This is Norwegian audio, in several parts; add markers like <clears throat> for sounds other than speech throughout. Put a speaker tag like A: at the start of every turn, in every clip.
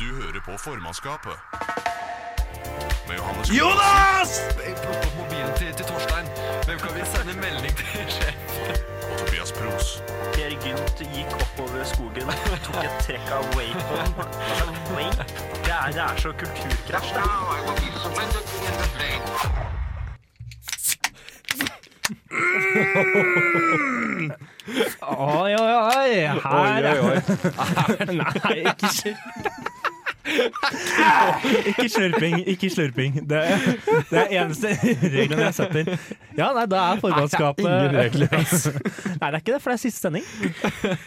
A: Du hører på formannskapet. Med Johannes
B: Jonas!
C: Plukk opp mobilen til, til Torstein. Hvem kan vi sende melding til sjef?
A: Clausen og Tobias Pros.
D: Per Gynt gikk oppover skogen, tok et trekk av wapen. <laughs> Altså, Wape? Det er, det er så kulturkrasj. Det er.
B: Oi, oi, oi. Her
E: Oi, oi, oi.
B: Nei, ikke slurping.
E: Ikke slurping, ikke slurping. Det, det er eneste regelen jeg setter.
B: Ja, nei, da er formannskapet
E: Nei, det er ingen regler, ass.
B: Nei, det er ikke det, for det er siste sending.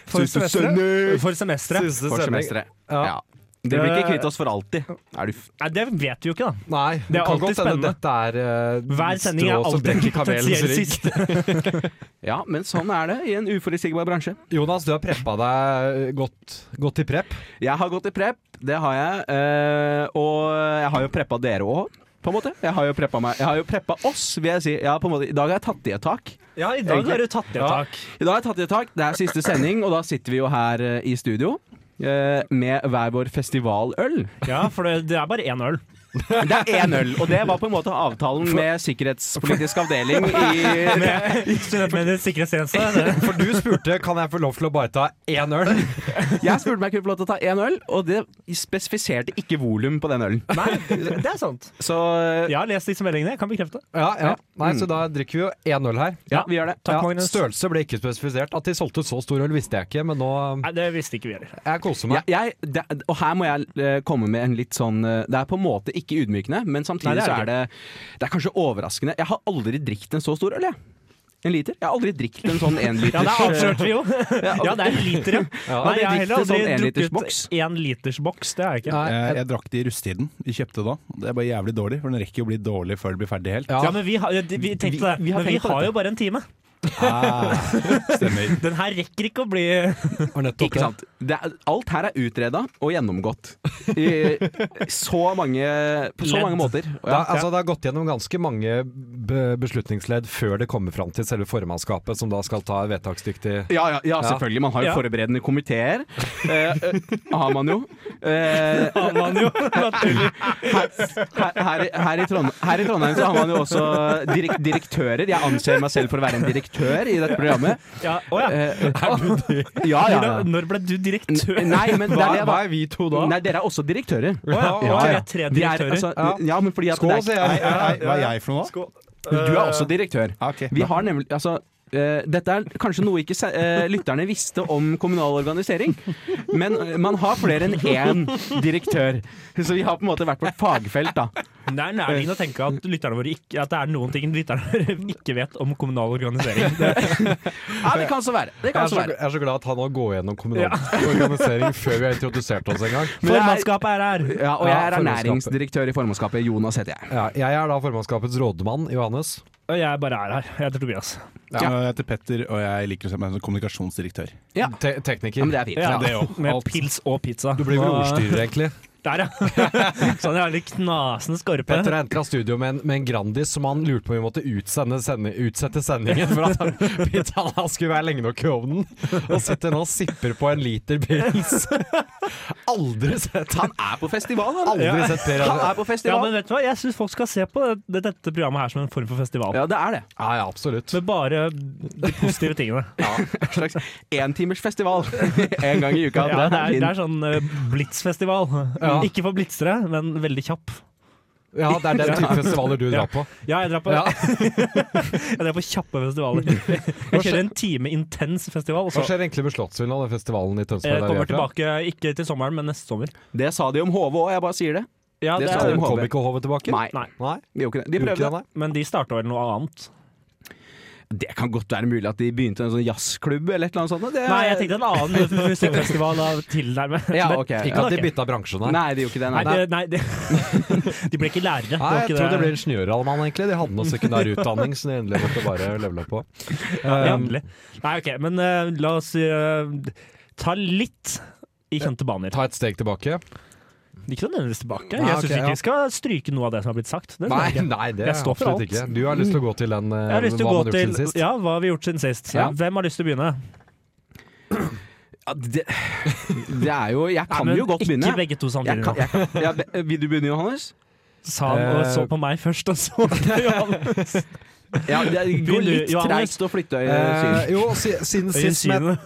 B: For
E: Siste sending!
B: For semesteret.
E: Siste
C: For
E: sending.
C: semesteret.
B: Ja.
C: Ja. Det blir ikke kvitt oss for alltid. Er du f...
B: Nei, det vet vi jo ikke, da.
E: Nei,
B: Det er
E: kan
B: alltid
E: godt hende
B: spennende.
E: Dette er eh,
B: Hver sending er
E: strå som
B: alltid
E: brekker kamelens
B: potensielt
E: rygg.
B: siste.
D: <laughs>
C: Ja, men sånn er det i en uforutsigbar bransje.
E: Jonas, du har preppa deg godt, godt i prep.
C: Jeg har gått i prep, det har jeg. eh, og jeg har jo preppa dere òg, på en måte. Jeg har jo preppa meg. Jeg har jo preppa oss, vil jeg si. Jeg har på en måte, I dag har jeg tatt i et tak.
B: Ja, i dag har du tatt det
C: Ja.
B: tak.
C: I dag har jeg tatt i et tak. Det er siste sending, og da sitter vi jo her eh, i studio. eh, Med hver vår festivaløl.
B: Ja, for det, det er bare én øl.
C: Det er én øl, og det var på en måte avtalen med sikkerhetspolitisk avdeling i
B: <laughs> Med det sikkerhetstjeneste.
E: For du spurte kan jeg få lov til å bare ta én øl.
C: Jeg spurte meg om jeg kunne få lov til å ta én øl, og det spesifiserte ikke volum på den ølen.
B: Nei, det er sant.
C: Så eh, ja,
B: Jeg har lest disse meldingene, jeg kan bekrefte.
E: Ja, ja. Nei, Så da drikker vi jo én øl her.
C: vi gjør det.
B: Takk,
E: Ja,
B: Magnus.
E: størrelse ble ikke spesifisert. At de solgte så stor øl, visste jeg ikke, men nå
B: Nei, det visste ikke vi heller.
E: Jeg koser
C: Ja,
E: meg.
C: jeg, det, og her må jeg eh, komme med en litt sånn eh, Det er på en måte ikke ydmykende, men samtidig
B: Nei, det er
C: så er det Det er kanskje overraskende. Jeg har aldri drukket en så stor øl, jeg. En liter? Jeg har aldri drukket en sånn
B: <laughs>
C: enliters
B: Ja, det avslørte vi jo. Ja, det er en liter, ja. Nei, jeg har
C: riktig,
B: heller
C: sånn
B: aldri drukket
C: enlitersboks.
B: én liters boks. Det har jeg ikke.
E: Nei,
F: Jeg,
E: jeg,
F: jeg drakk det i rusttiden. Vi kjøpte da. Det er bare jævlig dårlig, for den rekker jo å bli dårlig før det blir ferdig helt.
B: Ja,
E: ja.
B: men vi har, vi tenkte det.
C: vi har
B: Men vi
C: tenkt på
B: har
C: dette.
B: jo bare en time.
F: Stemmer.
B: Den her rekker ikke å bli
E: var nettopp
C: Ikke
E: det.
C: sant? Det er, alt her er utreda og gjennomgått. I så mange På så
B: Ledd.
C: mange måter. Og
E: Det,
C: ja,
E: er- altså, det har gått gjennom ganske mange be- beslutningsledd før det kommer fram til selve formannskapet, som da skal ta vedtaksdyktig
C: Ja, ja, ja, selvfølgelig. Man har jo
B: Ja.
C: forberedende komiteer. Eh, eh, har man jo. Eh,
B: Har man jo, naturlig.
C: her, her, her, i- her, i Trond, her i Trondheim så har man jo også direk, direktører. Jeg anser meg selv for å være en direktør i dette programmet.
B: Ja, å ja.
C: Eh, ja, ja, ja.
B: Hvordan- Når ble du direktør?
C: Nei, men det er det jeg
E: er vi to
C: Nei, dere er også direktører.
B: Å ja, å,
C: Ja,
B: vi
C: ja.
B: er tre
C: De er,
B: direktører.
C: altså,
E: Ja.
C: ja, men fordi at det er-
E: Skål, sier jeg.
F: Nei, nei, nei, hva er jeg for noe?
B: Skål.
C: Du er også direktør.
F: Ja, ok.
C: Vi har nemlig Altså eh, dette er kanskje noe ikke se- eh, lytterne visste om kommunal organisering, men eh, man har flere enn én direktør. Så vi har på en måte vært på et fagfelt, da.
B: Det er nærliggende å tenke at, lytterne våre ikke, at det er noen ting lytterne <laughs> våre ikke vet om kommunal organisering.
C: Ja, det kan så være. Det
E: Jeg
C: kan
E: er,
C: så
E: så,
C: være.
E: jeg er så glad at han har gått gjennom <laughs> kommunal organisering før vi har introdusert oss en gang.
C: Men jeg er-
B: Formannskapet er her.
C: Ja, og jeg
E: Ja,
C: er
E: formannskapet.
C: ernæringsdirektør i formannskapet. Jonas heter jeg.
E: Ja, jeg er da formannskapets rådmann, Johannes.
B: Og jeg bare er her. Jeg heter Tobias.
F: Ja. Jeg heter Petter, og jeg liker å se meg som kommunikasjonsdirektør.
C: Ja.
E: Te
C: Ja,
E: tekniker.
C: men det er fint.
B: Ja,
F: det òg.
B: Med
E: Alt.
B: pils og pizza.
E: Du blir vel
B: Nå-
E: ordstyrer, egentlig.
B: <laughs> Der, ja. Sånn jeg har litt knasende skorpe.
E: Petter har entra studio med en, med en Grandis som han lurte på om vi måtte utsende sending, utsette sendingen for at han- <laughs> pizzaen skulle være lenge nok i ovnen. Og sitter nå og sipper på en liter pils. <laughs> Aldri sett
C: Han er på festival, han.
E: Aldri sett Per
C: Han
E: André.
C: er på
B: Ja,
C: festival.
B: men vet du hva? Jeg syns folk skal se på det, dette programmet her som en form for festival.
C: Ja, det er det.
E: Ja, ja, absolutt.
B: Med bare de positive tingene.
C: En slags entimersfestival en gang i uka.
B: Ja, det, er,
C: fint.
B: det er sånn eh, blitzfestival.
E: Ja.
B: Ikke for blitzere, men veldig kjapp.
E: Ja, det er den type festivaler du
B: Ja.
E: drar på.
B: Ja, jeg drar på,
E: Ja.
B: <laughs> jeg drar på kjappe festivaler. Jeg kjører en time intens festival, og
E: Hva
B: så
E: skjer egentlig med Slottsvillen og den festivalen i
B: eh,
E: Tønsberg? der vi
B: kommer
E: er fra?
B: tilbake ikke til sommeren, men neste sommer.
C: Det sa de om HV òg, jeg bare sier det.
B: Ja,
C: Det
B: det
C: skal
B: er,
C: de
E: Kom ikke HV tilbake?
C: Nei,
B: nei,
E: Nei?
C: de gjorde ikke det. De
E: Gjorde ikke det,
C: prøvde.
E: nei?
B: men de starta vel noe annet.
C: Det kan godt være mulig at de begynte en sånn jazzklubb eller et eller annet sånt. Det,
B: Nei, jeg tenkte en annen musikkfestival av tilnærmet.
C: Ja,
B: Men-
C: ok.
E: Ikke at de
B: Ok.
E: bytta bransje, nei.
C: Nei, de gjorde ikke det.
B: Nei,
C: Nei.
B: det, nei det, <laughs> de ble ikke lærere.
E: Nei,
B: var
E: jeg
B: ikke
E: tror det blir ingeniørallmann, egentlig. De hadde noe sekundær utdanning, så de endelig måtte bare levele på.
B: Ja,
E: Um,
B: endelig. Nei, ok, men eh, la oss eh, ta litt i kjente baner.
E: ta et steg tilbake.
B: Ikke nødvendigvis tilbake.
E: Nei,
B: Jeg syns
E: ok,
B: ikke
E: ja.
B: vi skal stryke noe av det som har blitt sagt. Det
E: Nei,
B: skal vi ikke.
E: nei, det
B: Jeg står for
E: absolutt
B: alt.
E: ikke. Du har lyst til å gå til den eh,
B: Jeg har lyst
E: hva
B: til å
E: man
B: gå
E: har gjort siden
B: til
E: sist.
B: Ja, hva har vi gjort siden sist?
C: Ja.
B: Hvem har lyst til å begynne?
C: Ja, det, <laughs> det er jo Jeg kan
B: Nei, men
C: jo godt begynne.
B: Ikke begge to
C: Jeg
B: samtidig.
C: kan,
B: nå.
C: jeg kan, ja, be- vil du begynne, Johannes?
B: Sa han og så på meg først, og så på Johannes.
C: Ja, det
B: Begynn du,
C: går litt
B: Johannes.
C: treigt å flytte
E: Eh,
C: øyet.
E: jo, si- siden
B: Øyet
E: sist med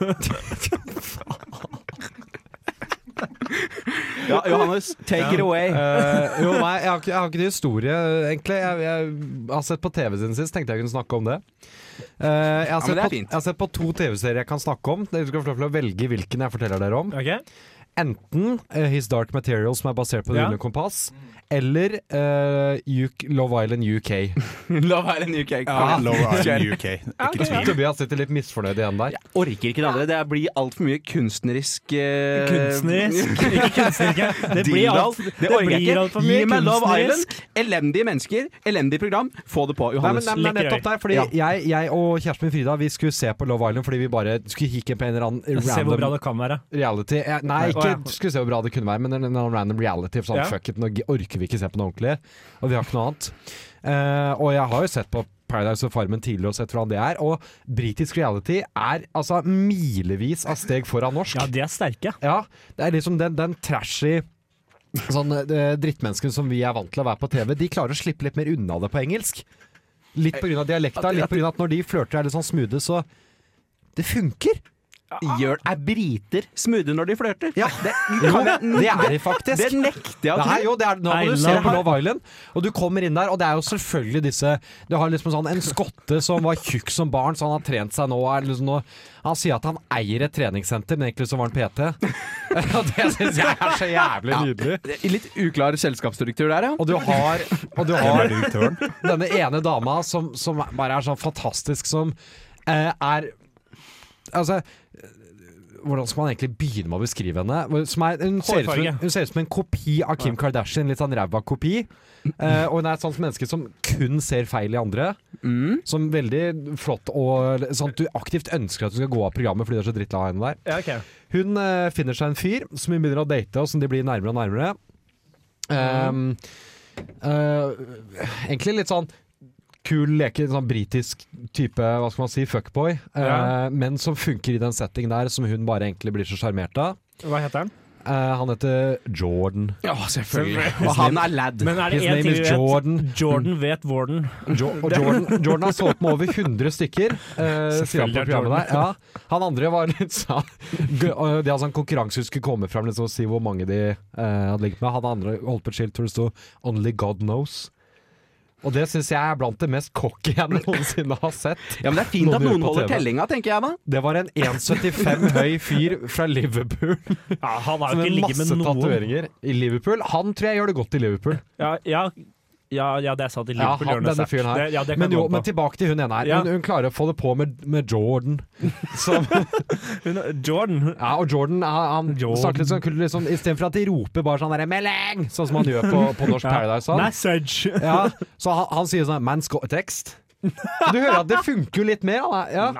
C: Ja, Johannes, take it away. <laughs>
E: Eh, jo, nei, jeg har, ikke, jeg har ikke noe historie, egentlig. Jeg, jeg har sett på TV siden sist, tenkte jeg kunne snakke om det. Eh, jeg, har
C: men
E: sett
C: det er
E: på,
C: fint.
E: jeg har sett på to TV-serier jeg kan snakke om. Dere skal få lov til å velge hvilken jeg forteller dere om.
B: Ok?
E: Enten eh, His Dark Material, som er basert på Det
B: Ja.
E: runde kompass, eller eh, UK, Love Island UK.
C: La være en UK.
F: Ja,
C: Kom igjen.
F: Lower Island UK. Ikke tvil.
E: Tobias sitter litt misfornøyd igjen der.
C: Jeg orker ikke det andre. Det blir altfor mye kunstnerisk eh, <laughs>
B: Kunstnerisk. Ikke kunstnerisk. Det blir
C: Dildal.
B: alt,
C: Det
B: det
C: orker jeg
B: blir alt
C: ikke.
B: for mye
C: Gi meg Love
B: kunstnerisk.
C: Island. Elendige mennesker, elendig program. Få det på,
E: Nei, men,
C: Johannes.
E: nei, men det er nettopp der, fordi
C: Ja.
E: jeg, jeg og kjæresten min Frida Vi skulle se på Love Island fordi vi bare skulle kikke på en eller annen
B: Se hvor bra
E: random
B: det kan være.
E: Reality eh, Nei,
B: Nei,
E: ikke
B: å, ja.
E: skulle se hvor bra det kunne være, men en eller annen random reality. Sånn,
B: Ja.
E: Fuck it, nå gi- orker vi ikke se på noe ordentlig, og vi har ikke noe annet. Eh, og jeg har jo sett på Paradise og Farmen tidligere og sett hvordan det er, og britisk reality er altså milevis av steg foran norsk.
B: Ja, de er sterke.
E: Ja, det er liksom den, den trashy Sånn eh, drittmennesken som vi er vant til å være på TV, de klarer å slippe litt mer unna det på engelsk. Litt pga. dialekta, litt pga. at når de flørter er litt sånn smoothe, så Det funker!
C: Gjør, er briter smoothe når de flørter?
E: Ja, det, det er de faktisk.
C: Det nekter jeg å
E: Nei,
C: tro.
E: jo, det er, nå må du
B: Island.
E: se på Love Island, og du kommer inn der, og det er jo selvfølgelig disse Du har liksom sånn en skotte som var tjukk som barn, så han har trent seg nå. og Er liksom nå han sier at han eier et treningssenter, men egentlig så var han PT. <laughs> Og det syns jeg er så jævlig nydelig.
C: Det er Litt uklar selskapsstruktur der, ja.
E: Og du har, og du
F: Hvem
E: har
F: er direktøren?
E: denne ene dama som, som bare er sånn fantastisk, som eh, er Altså eh, hvordan skal man egentlig begynne med å beskrive henne? Hvor- Som er, hun, ser ut som,
B: Hårfarge.
E: hun ser ut som en kopi av Kim Kardashian. Litt sånn ræva kopi. Eh, og hun er et sånt menneske som kun ser feil i andre. Som veldig flott og sånn at du aktivt ønsker at du skal gå av programmet fordi du er så drittlei av henne der.
B: Ja, ok.
E: Hun eh, finner seg en fyr som hun begynner å date, og som de blir nærmere og nærmere. Ehm, eh, egentlig litt sånn kul leke, sånn britisk type hva skal man si, fuckboy, eh,
B: Ja.
E: men som funker i den settingen der som hun bare egentlig blir så sjarmert av.
B: Hva heter den?
E: Eh, han heter Jordan.
C: Ja, selvfølgelig. Og han er lad.
B: Men er det
E: His
B: én
E: name
B: ting
E: is
B: vi vet?
E: Jordan.
B: Jordan vet Warden.
E: Jo og Jordan, Jordan har solgt med over 100 stykker, eh, sier han på
B: Selvfølgelig er
E: programmet der. Ja, han andre var litt sånn <laughs> gø- og Det er sånn konkurranse som skulle komme fram liksom, og si hvor mange de eh, hadde ligget med. Han andre holdt på et skilt hvor det sto 'Only God Knows'. Og det syns jeg er blant det mest cocky jeg <laughs> noensinne har sett.
C: Ja, men Det er fint
E: Noen
C: at
E: lurer
C: noen
E: på
C: holder
E: TV.
C: tellinga, tenker jeg da.
E: Det var en
B: <laughs>
E: 1,75 høy fyr fra Liverpool
B: Ja, han har jo
E: med
B: ikke ligget
E: masse
B: med noen.
E: tatoveringer. I Liverpool. Han tror jeg gjør det godt i Liverpool.
B: Ja, ja, ja, ja, det sa de
E: Ja, han, denne fyren her.
B: Det, ja, det kan
E: Men, jo,
B: gå
E: men
B: på.
E: tilbake til hun ene her.
B: Ja.
E: Hun, hun klarer å få det på med, med
B: <laughs>
E: Jordan. Som
B: Hun- uh, Jordan
E: Ja, og Jordan, han, han
B: Jordan.
E: snakker litt sånn kult, liksom, istedenfor at de roper bare sånn derre 'Meling!' sånn som han gjør på, på
C: <laughs>
E: norsk Paradise. Han.
B: Message!
E: <laughs> Ja, så han, han sier sånn 'Man skal tekst'. Du hører at det funker jo litt mer. han er- Ja.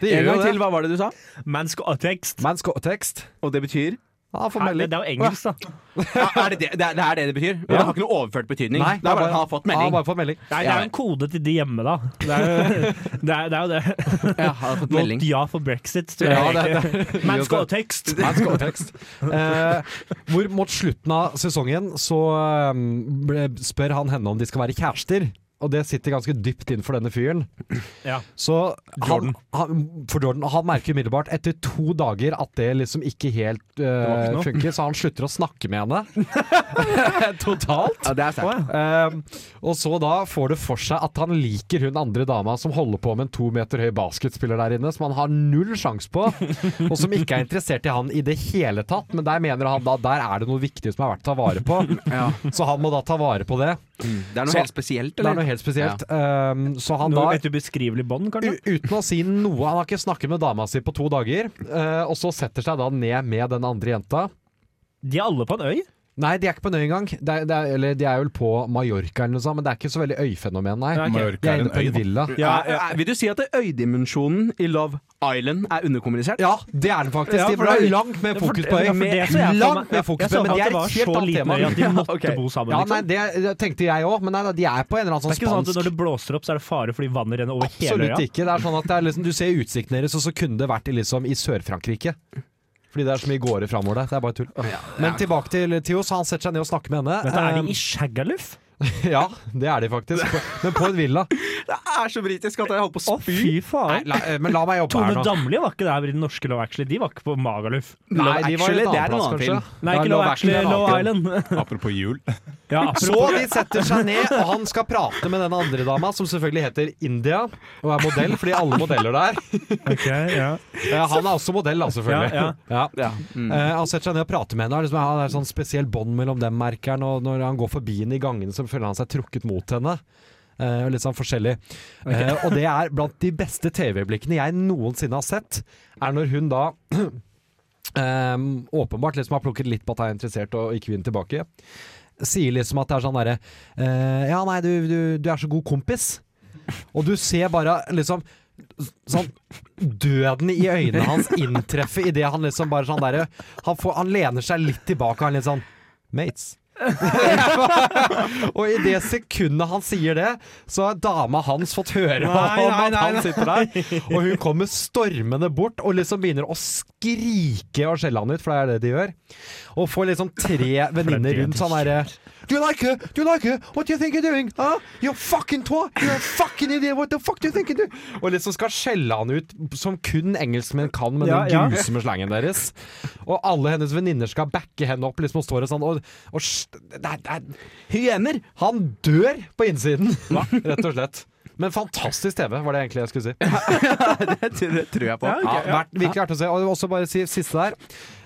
E: Det
C: En
E: gjør
C: gang
E: jo
C: til,
E: det.
C: hva var det du sa?
B: Man skal ha tekst.
E: Man skal tekst.
C: Og det betyr?
E: Ja, han får
B: Nei, det
E: melding.
B: det er jo engelsk, da.
C: Ja, er det, det, det, er, det er det det betyr? Det har ikke noe overført betydning.
E: Nei,
C: det er bare at han har fått
E: Han
C: melding.
E: har bare fått melding.
B: Nei, det er jo en kode til de hjemme, da. Det er jo <laughs> det. Er, det, er jo det.
C: Ja, han har fått melding.
B: Vote ja for brexit, tror jeg.
E: Ja, det,
B: egentlig.
E: det.
B: <laughs> Man skal ha tekst!
E: Man skal ha
C: <laughs>
E: tekst. Eh, hvor mot slutten av sesongen så eh, ble- spør han henne om de skal være kjærester. Og det sitter ganske dypt inn for denne fyren.
B: Ja.
E: Så han,
B: Jordan.
E: han, for Jordan, han merker umiddelbart etter to dager at det liksom ikke helt eh,
B: Det var ikke noe.
E: funker, så han slutter å snakke med henne.
B: <laughs>
E: Totalt.
C: Ja, det er sterkt.
E: Eh, og så da får det for seg at han liker hun andre dama som holder på med en to meter høy basketspiller der inne, som han har null sjanse på, og som ikke er interessert i han i det hele tatt. Men der mener han da der er det noe viktig som er verdt å ta vare på,
C: Ja.
E: så han må da ta vare på det.
C: Det er noe
E: Så-
C: helt spesielt,
E: Det er
C: eller?
E: noe helt spesielt. Eh, så han
B: Noe
E: da
B: et ubeskrivelig bånd, kanskje?
E: U- Uten å si noe. Han har ikke snakket med dama si på to dager. eh, og så setter seg da ned med den andre jenta.
B: De er alle på en øy?
E: Nei, de er ikke på en øy engang. Det er, det er, eller de er vel på Mallorca eller noe sånt, men det er ikke så veldig øyfenomen, nei.
B: Nei, ok.
E: De
F: Mallorca
E: er
F: er
E: inne
F: en
E: på
F: øy.
E: en
F: da.
E: villa.
C: Er- er- Eh, Vil du si at det- øydimensjonen i Love Island er underkommunisert?
E: Ja, det er den faktisk.
B: Ja,
E: de
B: for
E: burde
B: det-
E: ha langt mer fokus på
B: Ja,
E: øy.
B: for det så jeg for meg-
E: langt mer
B: Jeg
E: fokus
B: så
E: på øy, men det
B: at
E: er
B: var
E: et
B: så
E: helt annet
B: liten
E: tema.
B: øy at de <laughs> måtte
C: Ja, ok.
B: bo sammen,
E: Ja, nei,
B: liksom.
E: det, det tenkte jeg òg, men nei, da, de er på en eller annen sånn
B: Det er ikke sånn at
E: spansk
B: når det blåser opp, så er det fare fordi vannet renner over hele
E: Absolutt
B: øya?
E: ikke. Det er sånn at det er liksom, Du ser utsikten deres, og så kunne det vært i, liksom, i Sør-Frankrike. Fordi det er så mye gårder framover der. Det er bare tull. Men tilbake til Theo. Så han setter seg ned og snakker med henne.
B: Dette er de
E: Eh,
B: i Shagaluf?
E: Ja, det er de faktisk. På- Men på en
B: <laughs>
E: villa.
C: Det er så britisk at jeg holdt på å
B: Å, fy
E: Nei,
B: faen.
E: la, eh, men la meg jobbe her nå.
B: Tone Damli var ikke der i den norske Love Actually. De var ikke på Magaluf.
E: Nei, de var
C: Actually,
E: litt
C: det er
E: annen
C: en
E: plass,
C: annen
E: kanskje.
C: film.
B: Nei, ikke Love Actually,
E: er en
B: Love
E: annen film.
B: Island. <laughs>
F: Apropos jul.
B: Ja,
E: Så
B: <laughs> apropos-
E: de setter seg ned, og han skal prate med den andre dama, som selvfølgelig heter India, og er modell, fordi alle modeller
B: <laughs>
E: der.
B: Ok, ja.
E: Eh, Han er også modell, da, selvfølgelig.
B: Ja,
E: Ja.
C: Ja. Mm.
E: Eh, han setter seg ned og prater med henne. og Liksom, han er sånn spesiell bånd mellom dem, merker han. Og når han går forbi henne i gangene, så føler han seg trukket mot henne. Eh, og litt sånn forskjellig. Eh, og det er blant de beste TV-øyeblikkene jeg noensinne har sett, er når hun da <clears throat> eh, åpenbart liksom har plukket litt på at jeg er interessert, og ikke vil tilbake. Sier liksom at det er sånn derre eh, Ja, nei, du, du, du er så god kompis. Og du ser bare liksom sånn døden i øynene hans inntreffe idet han liksom bare sånn derre han, får- han lener seg litt tilbake, han litt sånn Mates. <laughs> og i det sekundet han sier det, så har dama hans fått høre
B: Nei,
E: om
B: nei,
E: at
B: nei,
E: han sitter der. Og hun kommer stormende bort og liksom begynner å skrike og skjelle han ut, for det er det de gjør. Og får liksom tre venninner rundt sånn derre Do you like her? Do you like her? What do you think you're doing? Huh? You're fucking twat! You're a fucking idiot! What the fuck do you think you're doing? Og liksom skal skjelle han ut som kun engelskmenn kan med
B: Ja,
E: den
B: ja.
E: grusomme slangen deres. Og alle hennes venninner skal backe henne opp liksom og står og sånn og, og sj- det er, det er,
C: Hyener!
E: Han dør på innsiden, <laughs> rett og slett. Men fantastisk TV, var det egentlig jeg skulle si.
C: <laughs> Det tror jeg på.
E: Ja, vært, virkelig artig å se. Og også bare si, siste der.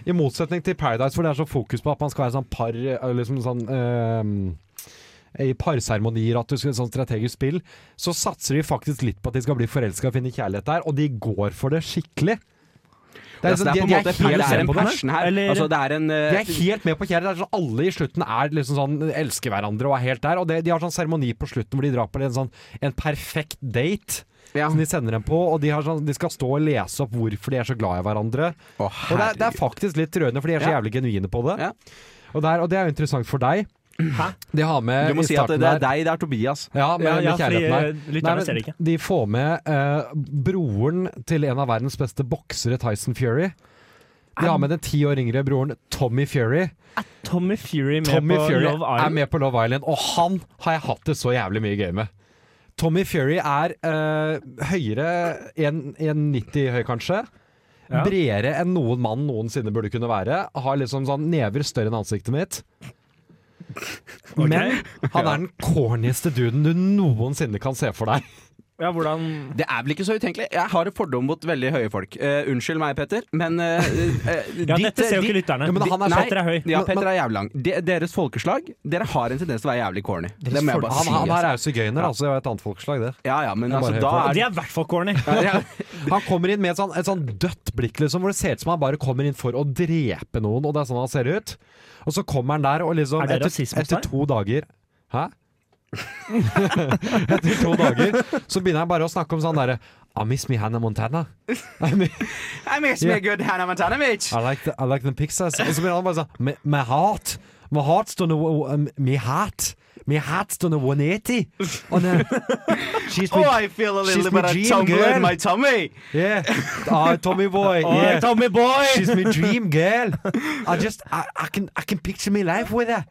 E: I motsetning til Paradise, hvor det er så fokus på at man skal være sånn par eh, liksom sånn, eh, I parseremonier, at du skal sånn strategisk spill, så satser de faktisk litt på at de skal bli forelska og finne kjærlighet der, og de går for det skikkelig. Det
C: Det
E: er,
C: er, sånn,
E: liksom-
C: det er på en
E: de,
C: måte
E: de, er
C: det er
E: helt
C: en
E: med på det.
C: passion her.
B: Eller-
C: Altså, det er en eh,
E: De er helt med på kjære. Det er sånn, alle i slutten er liksom sånn, elsker hverandre og er helt der. Og det, de har sånn seremoni på slutten hvor de drar på en, sånn, en perfekt date.
C: ja.
E: Som de sender dem på, og de, har sånn, de skal stå og lese opp hvorfor de er så glad i hverandre.
C: Å,
E: Og det er, det er faktisk litt rørende, for de er så
C: Ja.
E: jævlig genuine på det.
C: Ja.
E: Og, det er, og det er jo interessant for deg. De har med
C: Du må
E: i
C: si at det
E: starten
C: er
E: der-
C: deg, det er Tobias.
E: Ja, med,
B: Ja, ja,
E: med
B: fordi,
E: kjærligheten her.
B: eh, lytterne
E: men
B: ser det ikke.
E: De får med eh, broren til en av verdens beste boksere, Tyson Fury. De har med den ti år yngre broren Tommy Fury.
B: Tommy Fury med
E: Tommy
B: på
E: Fury
B: Love
E: er
B: Island.
E: med på Love Island, og han har jeg hatt det så jævlig mye gøy med. Tommy Fury er eh, høyere 1,90 høy, kanskje.
B: Ja.
E: Bredere enn noen mann noensinne burde kunne være. Har liksom sånn never større enn ansiktet mitt.
B: Ok.
E: Men han er den cornieste duden du noensinne kan se for deg.
B: Ja, hvordan
C: Det er vel ikke så utenkelig. Jeg har en fordom mot veldig høye folk. Eh, unnskyld meg, Petter, men eh, eh,
B: Ja,
C: ditt-
B: dette ser jo
C: ditt-
B: ikke lytterne.
E: Ja, men han er-
B: Nei. Petter er høy.
C: Ja, Petter er jævlig lang. De, deres folkeslag, dere har en tendens til å være jævlig corny. Det må jeg bare
E: Han,
C: si.
E: han
C: altså.
E: her er jo sigøyner, altså. Det er jo et annet folkeslag, det.
C: Ja ja, men
E: Jeg er
C: altså,
E: bare
C: da
E: høy
B: Og
C: er
B: de er i hvert fall corny.
C: ja,
E: <laughs> Han kommer inn med et sånn, et sånn dødt blikk, liksom, hvor det ser ut som han bare kommer inn for å drepe noen, og det er sånn han ser ut. Og så kommer han der, og liksom
B: Er det rasisme
E: etter,
B: hos deg?
E: etter to dager Hæ? <laughs> etter to dager så begynner han bare å snakke om sånn derre I miss me Hannah Montana. I, mi-
C: I miss me a good Hannah Montana, bitch!
E: I like the, I like the Pixars. Og så begynner han bare sånn My, my heart. My heart's done a, um, my heart. My heart's done a 180. Og
B: <laughs>
E: then, she's
C: Oh,
E: been,
C: I feel a
E: She's
C: little bit of
E: my dream
C: tumble
E: girl.
C: in my tummy!
E: yeah. Ah, Tommy boy.
B: Oi,
E: Yeah.
B: Tommy boy!
E: <laughs> She's my dream girl. I just I, I, can, I can picture my life with her.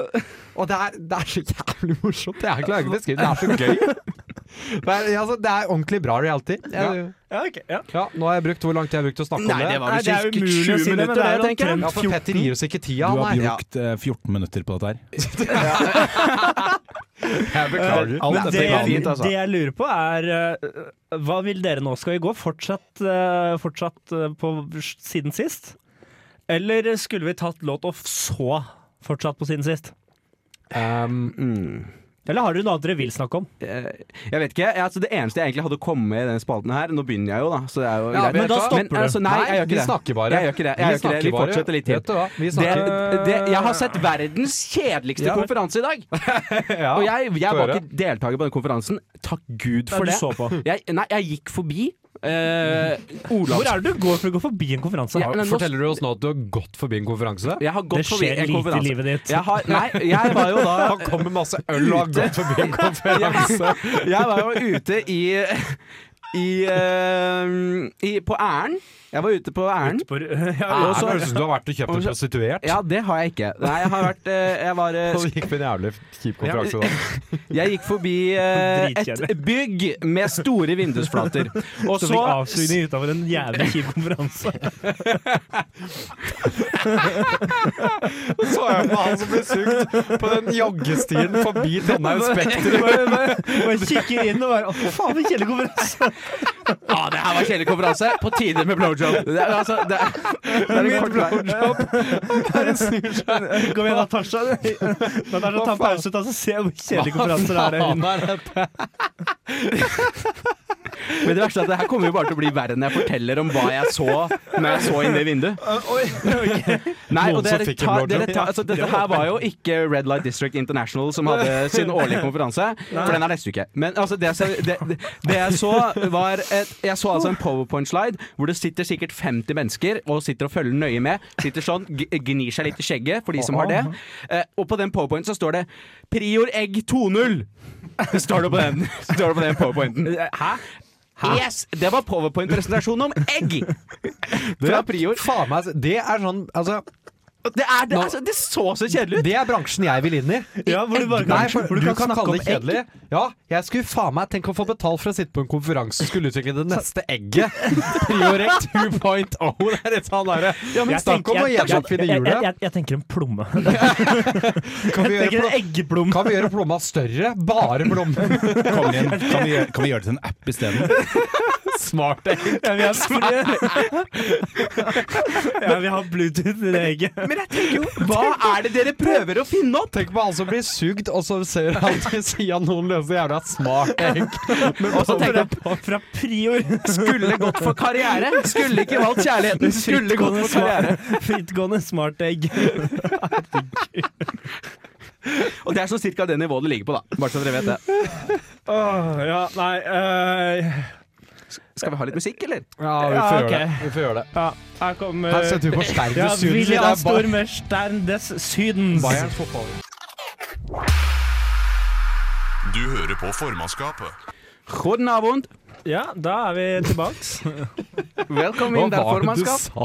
E: Og det er, det er så jævlig morsomt. Jeg klarer ikke å beskrive det. <laughs> Det er så gøy.
C: <laughs>
E: Det er, altså, det er ordentlig bra reality. Jeg,
B: Ja, ok, ja.
E: ja, nå har jeg brukt hvor lang tid jeg har brukt til å snakke
C: Nei,
E: om
C: det
E: det.
C: var
B: Nei,
C: vel
B: det er
C: ikke
B: jo umulig å
C: 20
B: si det, men
C: minutter,
B: det
C: det,
B: er jo
C: tenker jeg.
E: Ja, for Petter gir oss ikke tida.
F: Du har
E: Nei.
F: brukt eh, 14 minutter på dette her.
E: Jeg
F: Alt
E: beklager.
B: Eh, Det,
F: dette
C: var
B: jeg,
F: kan
C: fint, altså.
B: det jeg lurer på, er eh, Hva vil dere nå? Skal vi gå fortsatt, eh, fortsatt eh, på s- siden sist? Eller skulle vi tatt låt og så fortsatt på siden sist?
E: Um,
C: Mm.
B: Eller har dere noe annet dere vil snakke om?
C: Eh, Jeg vet ikke. jeg- Altså, det eneste jeg egentlig hadde å komme med i denne spalten her Nå begynner jeg jo, da. Så det er jo
E: Ja,
C: greit.
E: men da
B: stopper du.
C: Altså, nei, jeg gjør
E: vi
C: ikke det.
E: snakker bare.
C: Jeg gjør ikke det. Jeg gjør ikke det.
E: snakker
C: Vi
E: bare.
C: fortsetter litt til.
E: Vet du hva? Vi
C: Det,
E: snakker.
C: det, jeg har sett verdens kjedeligste
E: Ja, men-
C: konferanse i dag!
E: ja.
C: Og jeg, jeg
E: Få
C: var
E: høre.
C: ikke deltaker på den konferansen. Takk
B: Hva
C: Gud for
B: er det du
C: det.
B: så <laughs> på?
C: Jeg, nei, jeg gikk forbi eh, Olavs...
B: Hvor er det du går for å gå forbi en konferanse?
C: Ja, men nå-
E: Forteller du oss nå at du har gått forbi en konferanse?
C: Jeg har gått
B: Det
C: forbi
B: skjer
C: en
B: lite i
C: konferanse.
B: livet ditt.
C: Jeg har, nei, jeg var jo
E: <laughs>
C: da
E: Han kom med masse øl og har gått forbi en konferanse.
C: <laughs> Jeg var jo ute i, i, eh, i På Æren Jeg var ute på ærend.
B: På, <laughs> ja,
E: Nei,
C: også-
E: det høres ut som du har vært og kjøpt
C: Og
E: en
C: så-
E: prostituert.
C: Ja, det har jeg ikke. Nei, jeg har vært eh, Jeg var eh,
E: Og det gikk på en jævlig kjip konferanse da.
C: Jeg gikk forbi eh,
B: Dritkjedelig.
C: et bygg med store
E: <laughs>
C: vindusflater. Og
B: så
C: så
B: fikk avslutning utover en jævlig kjip konferanse.
E: <laughs> Så jeg på han som ble sugd på den joggestien forbi Trondheim Spektrum.
B: Bare- bare- bare kikker inn <laughs> og bare Å, faen, for en kjedelig konferanse! <laughs>
C: Ja, det her var kjedelig konferanse. På tide med blowjob. Det er, altså, det er, det er en kort vei. <laughs>
B: Kom igjen, Natasha. <laughs> Natasha, ta en pause, ta, så se hvor kjedelig konferanse det er.
E: Faen er det
C: <laughs> Men det verste er at det her kommer jo bare til å bli verre når jeg forteller om hva jeg så når jeg så inn det
E: <laughs>
C: vinduet. Nei, og
E: Noen som
C: dere
E: fikk en
C: tar,
E: blowjob.
C: dere tar, altså, dette her var jo ikke Red Light District International som hadde sin <laughs> årlige konferanse, for den er neste uke. Men altså, det, jeg så- det, det- det jeg så, var et, Jeg så altså en powerpoint-slide hvor det sitter sikkert 50 mennesker og sitter og følger nøye med. Sitter sånn, g- gnir seg litt i skjegget, for de som har det. Eh, og på den powerpointen så står det 'Prior Egg 2.0'. Står det på den, står det på den powerpointen. Eh, Hæ? Yes! Det var powerpoint-presentasjonen om egg! Fra Prior.
E: Faen meg, det er sånn altså,
C: Det, er, det, altså, det så så kjedelig ut!
E: Det er bransjen jeg vil inn i.
B: Ja, hvor du bare kan,
E: Nei, for,
B: hvor du kan snakke om
E: det kjedelig. Ja, jeg skulle faen meg tenke å få betalt for å sitte på en konferanse og skulle utvikle det neste <laughs> egget. Priorekt 2.0. Det er litt sånn derre Jeg snakker om å gjennomfinne
B: jeg, jeg,
E: hjulet.
B: jeg, jeg tenker en plomme.
E: Kan vi
B: <laughs>
E: gjøre
B: Jeg tenker en
E: pl-
B: eggeplomme.
E: kan vi gjøre plomma større? Bare plommer.
F: Kom igjen, kan vi, gjøre- kan vi gjøre det til en app isteden?
E: <laughs> Smart egg.
B: Ja, vi har, ja, vi har Bluetooth i det egget.
C: Men jeg tenker jo, hva er det dere prøver å finne opp?
E: Tenk på han som blir sugd, og så ser han til sida noen løse jævla smart egg.
C: Og <laughs> så tenker jeg,
B: Fra prior.
C: Skulle gått for karriere. Skulle ikke valgt kjærligheten. Skulle gått for karriere.
B: <laughs> Frittgående smartegg.
C: Og det er sånn cirka det nivået det ligger på, da. Bare så dere vet det.
B: Åh, ja, nei eh,
C: Skal vi ha litt musikk, eller?
E: Ja, vi
B: Ja,
E: får gjøre
B: ok.
E: det. Vi får gjøre det.
B: ja, Her kommer
E: Her setter vi på sterk
B: ja,
E: sugd. Det er
B: William
E: bare-
B: Stormer Stern des Sydens.
E: Bayerns fotball.
A: Du hører på formannskapet.
C: Guten Abend.
B: Ja, da er vi tilbake.
C: Velkommen
E: Hva
C: inn, der,
E: var det du
C: formannskap.
E: sa?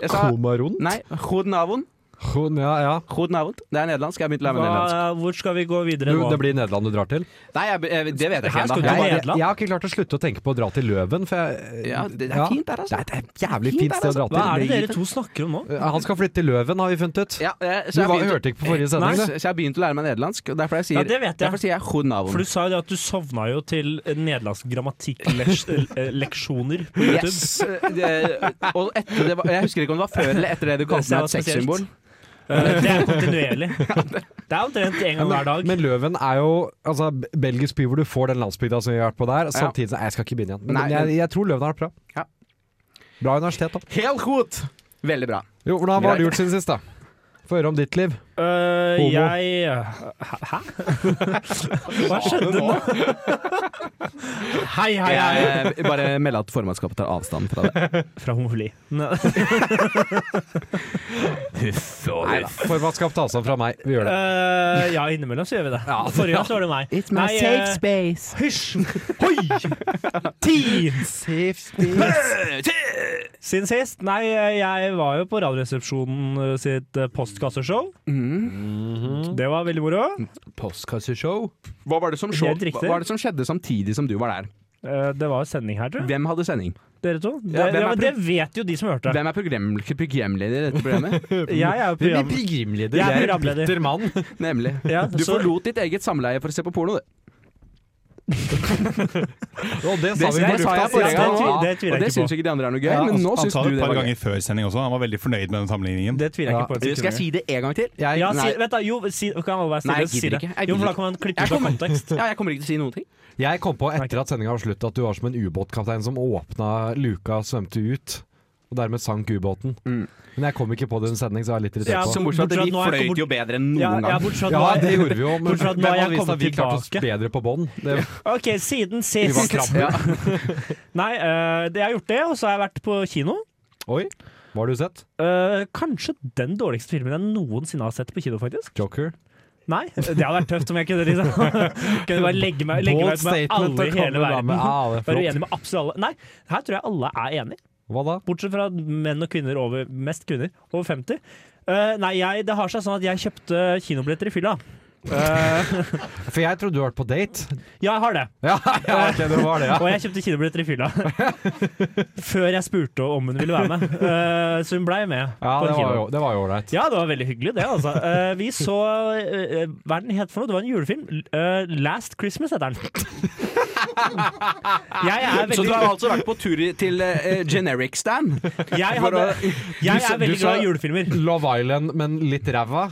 C: Jeg sa
E: Komaron?
C: Nei, guten Abend.
E: Kon- Ja, ja.
C: Guten Abend. Det er nederlandsk. Jeg har begynt å lære meg nederlandsk.
B: Hva, hvor skal vi gå videre
E: Du,
B: nå?
E: det blir Nederland du drar til?
C: Nei, jeg, jeg, det vet jeg
B: Her
C: ikke
B: skal du
C: ennå.
B: bare-
C: Jeg-
E: Jeg,
B: Nederland?
E: jeg har ikke klart å slutte å tenke på å dra til Løven, for jeg
C: Ja, det det
E: Ja.
C: er fint der, altså.
E: Det er et jævlig fint
C: der, altså.
E: sted å dra
B: Hva
E: til.
B: er det dere to snakker om nå?
E: Han skal flytte til Løven, har vi funnet ut.
C: Ja, eh, så
E: Du
C: jeg
E: var,
C: begynte-
E: hørte ikke på forrige
C: Nei,
E: sending,
C: så
E: du.
C: så jeg har begynt å lære meg nederlandsk, og derfor, jeg sier,
B: Ja, det vet jeg.
C: derfor sier jeg 'guten Abend'.
B: For du sa jo det at du sovna jo til nederlandsk grammatikk-leksjoner på YouTube.
C: Yes. Eh, Det, og etter det var, jeg husker ikke om det var før eller etter det du kalte meg et
B: Det ser jeg var
C: sexsymbol.
B: Eh, Det er kontinuerlig. Det er omtrent en gang hver dag.
E: Men Løven er jo altså, b- belgisk by hvor du får den landsbygda som vi har vært på der. Samtidig som Nei, Jeg skal ikke begynne igjen. Men
C: Nei,
E: jeg, jeg tror Løven har vært bra.
C: Ja.
E: Bra universitet, da.
C: Helt godt! Veldig bra.
E: Jo, hvordan var
C: Greit.
E: det gjort siden sist, da? Få høre om ditt liv.
B: Eh,
E: Homo.
B: jeg Hæ? Hva skjedde nå? Hei, hei, hei.
C: Jeg eh, bare melder at formannskapet tar avstand fra det.
B: Fra homofili.
E: Nei, Formannskap ta avstand fra meg. Vi gjør det.
B: Eh, ja, innimellom så gjør vi det. Forrige gang så var det meg.
C: It's
B: my safe
C: space.
B: Hysj! Hoi! Teens! Siden sist? Nei, jeg var jo på Radioresepsjonen eh, sitt postkasseshow. Det var veldig moro.
E: Postkasseshow.
C: Hva var, det som skjå-
B: Helt riktig.
C: hva var det som skjedde samtidig som du var der?
B: Eh, Det var sending her, tror jeg.
C: Hvem hadde sending?
B: Dere to. Det,
C: Ja,
B: ja,
C: hvem er
B: men det vet jo de som hørte.
C: Hvem er program, programleder i dette programmet?
B: Jeg er
E: Hvem
B: jo
E: blir
B: program...
E: programleder?
B: Jeg er
E: Jeg er en
B: programleder.
E: bitter mann.
C: Nemlig.
B: Ja,
C: Du
B: så-
C: forlot ditt eget samleie for å se på porno, du.
E: <laughs> Og det
C: Det,
E: sa vi på
C: det sa
E: lufta
C: jeg forrige
E: sist.
C: gang,
B: det tviler-
C: og
B: det tviler jeg
C: og det
B: ikke på.
C: syns ikke de andre er noe gøy,
E: Ja,
C: men nå
F: Han
C: syns
F: sa
C: du
F: det et
C: det
F: par
C: var gøy.
F: ganger før sending også. Han var veldig fornøyd med den sammenligningen.
B: Det tviler jeg
E: Ja,
B: ikke på. et
C: Skal
B: sekund.
C: jeg si det en gang til?
E: Jeg,
B: Ja, si,
C: Nei.
B: vent da, jo, si, kan alle være stille?
C: Nei, jeg
B: Si
C: gidder
B: det.
C: ikke. Jeg
B: Jo, for
C: gidder
B: da kan man klippe
C: Jeg
B: ut av
C: kommer-
B: kontekst.
C: Ja, jeg kommer ikke til å si noen ting.
E: jeg kom på etter at sendinga var slutt at du var som en ubåtkaptein som åpna luka og svømte ut. Og dermed sank ubåten.
C: Mm.
E: Men jeg kom ikke på det under sending, så jeg er litt irritert
B: Ja,
E: på
B: så-
E: det.
C: Så morsomt at
B: bortsett
C: vi
B: nå er jeg
C: fløyt
B: kommet-
C: jo bedre enn
B: Ja,
C: noen
B: ja,
C: gang.
B: bortsett
E: Ja,
B: nå er-
E: det gjorde vi jo, men
B: Bortsett fra at nå
E: hvem
B: er jeg
E: hadde visst at vi
B: kommet
E: klarte oss
B: tilbake.
E: bedre på bånd? Det
B: OK, siden
E: vi var
B: sist.
E: krabber.
B: Nei, eh, det jeg har gjort det, og så har jeg vært på kino.
E: Oi, hva har du sett?
B: Eh, kanskje den dårligste filmen jeg noensinne har sett på kino, faktisk.
E: Joker?
B: Nei, det hadde vært tøft om jeg kunne liksom <laughs> Kunne bare legge meg, legge meg ut med alle i hele verden. <laughs>
E: Ah, det er
B: Være
E: flott.
B: uenig med absolutt alle. Nei, her tror jeg alle er enig.
E: Hva da?
B: Bortsett fra menn og kvinner over Mest kvinner over 50. Eh, nei, jeg, det har seg sånn at jeg kjøpte kinobilletter i fylla. Eh,
E: For jeg trodde du hadde vært på date.
B: <laughs>
E: <laughs>
B: Ja, jeg har det.
E: Ja, ja ok, det var det, ja.
B: Og jeg kjøpte kinobilletter i fylla. <laughs> Før jeg spurte om hun ville være med. Eh, så hun blei med.
E: Ja,
B: på en
E: det var
B: kino.
E: jo- det var jo ålreit.
B: Ja, det var veldig hyggelig, det. altså. Eh, vi så eh, Hva er den het for noe? Det var en julefilm. Eh, Last Christmas
E: <laughs>
B: heter den. Jeg er
C: Så du har
B: veldig,
C: altså vært på tur i- til eh, generic stand?
B: jeg hadde, jeg
E: sa-
B: er
E: du
B: veldig
E: sa-
B: glad i julefilmer.
E: Love Island, men litt ræva.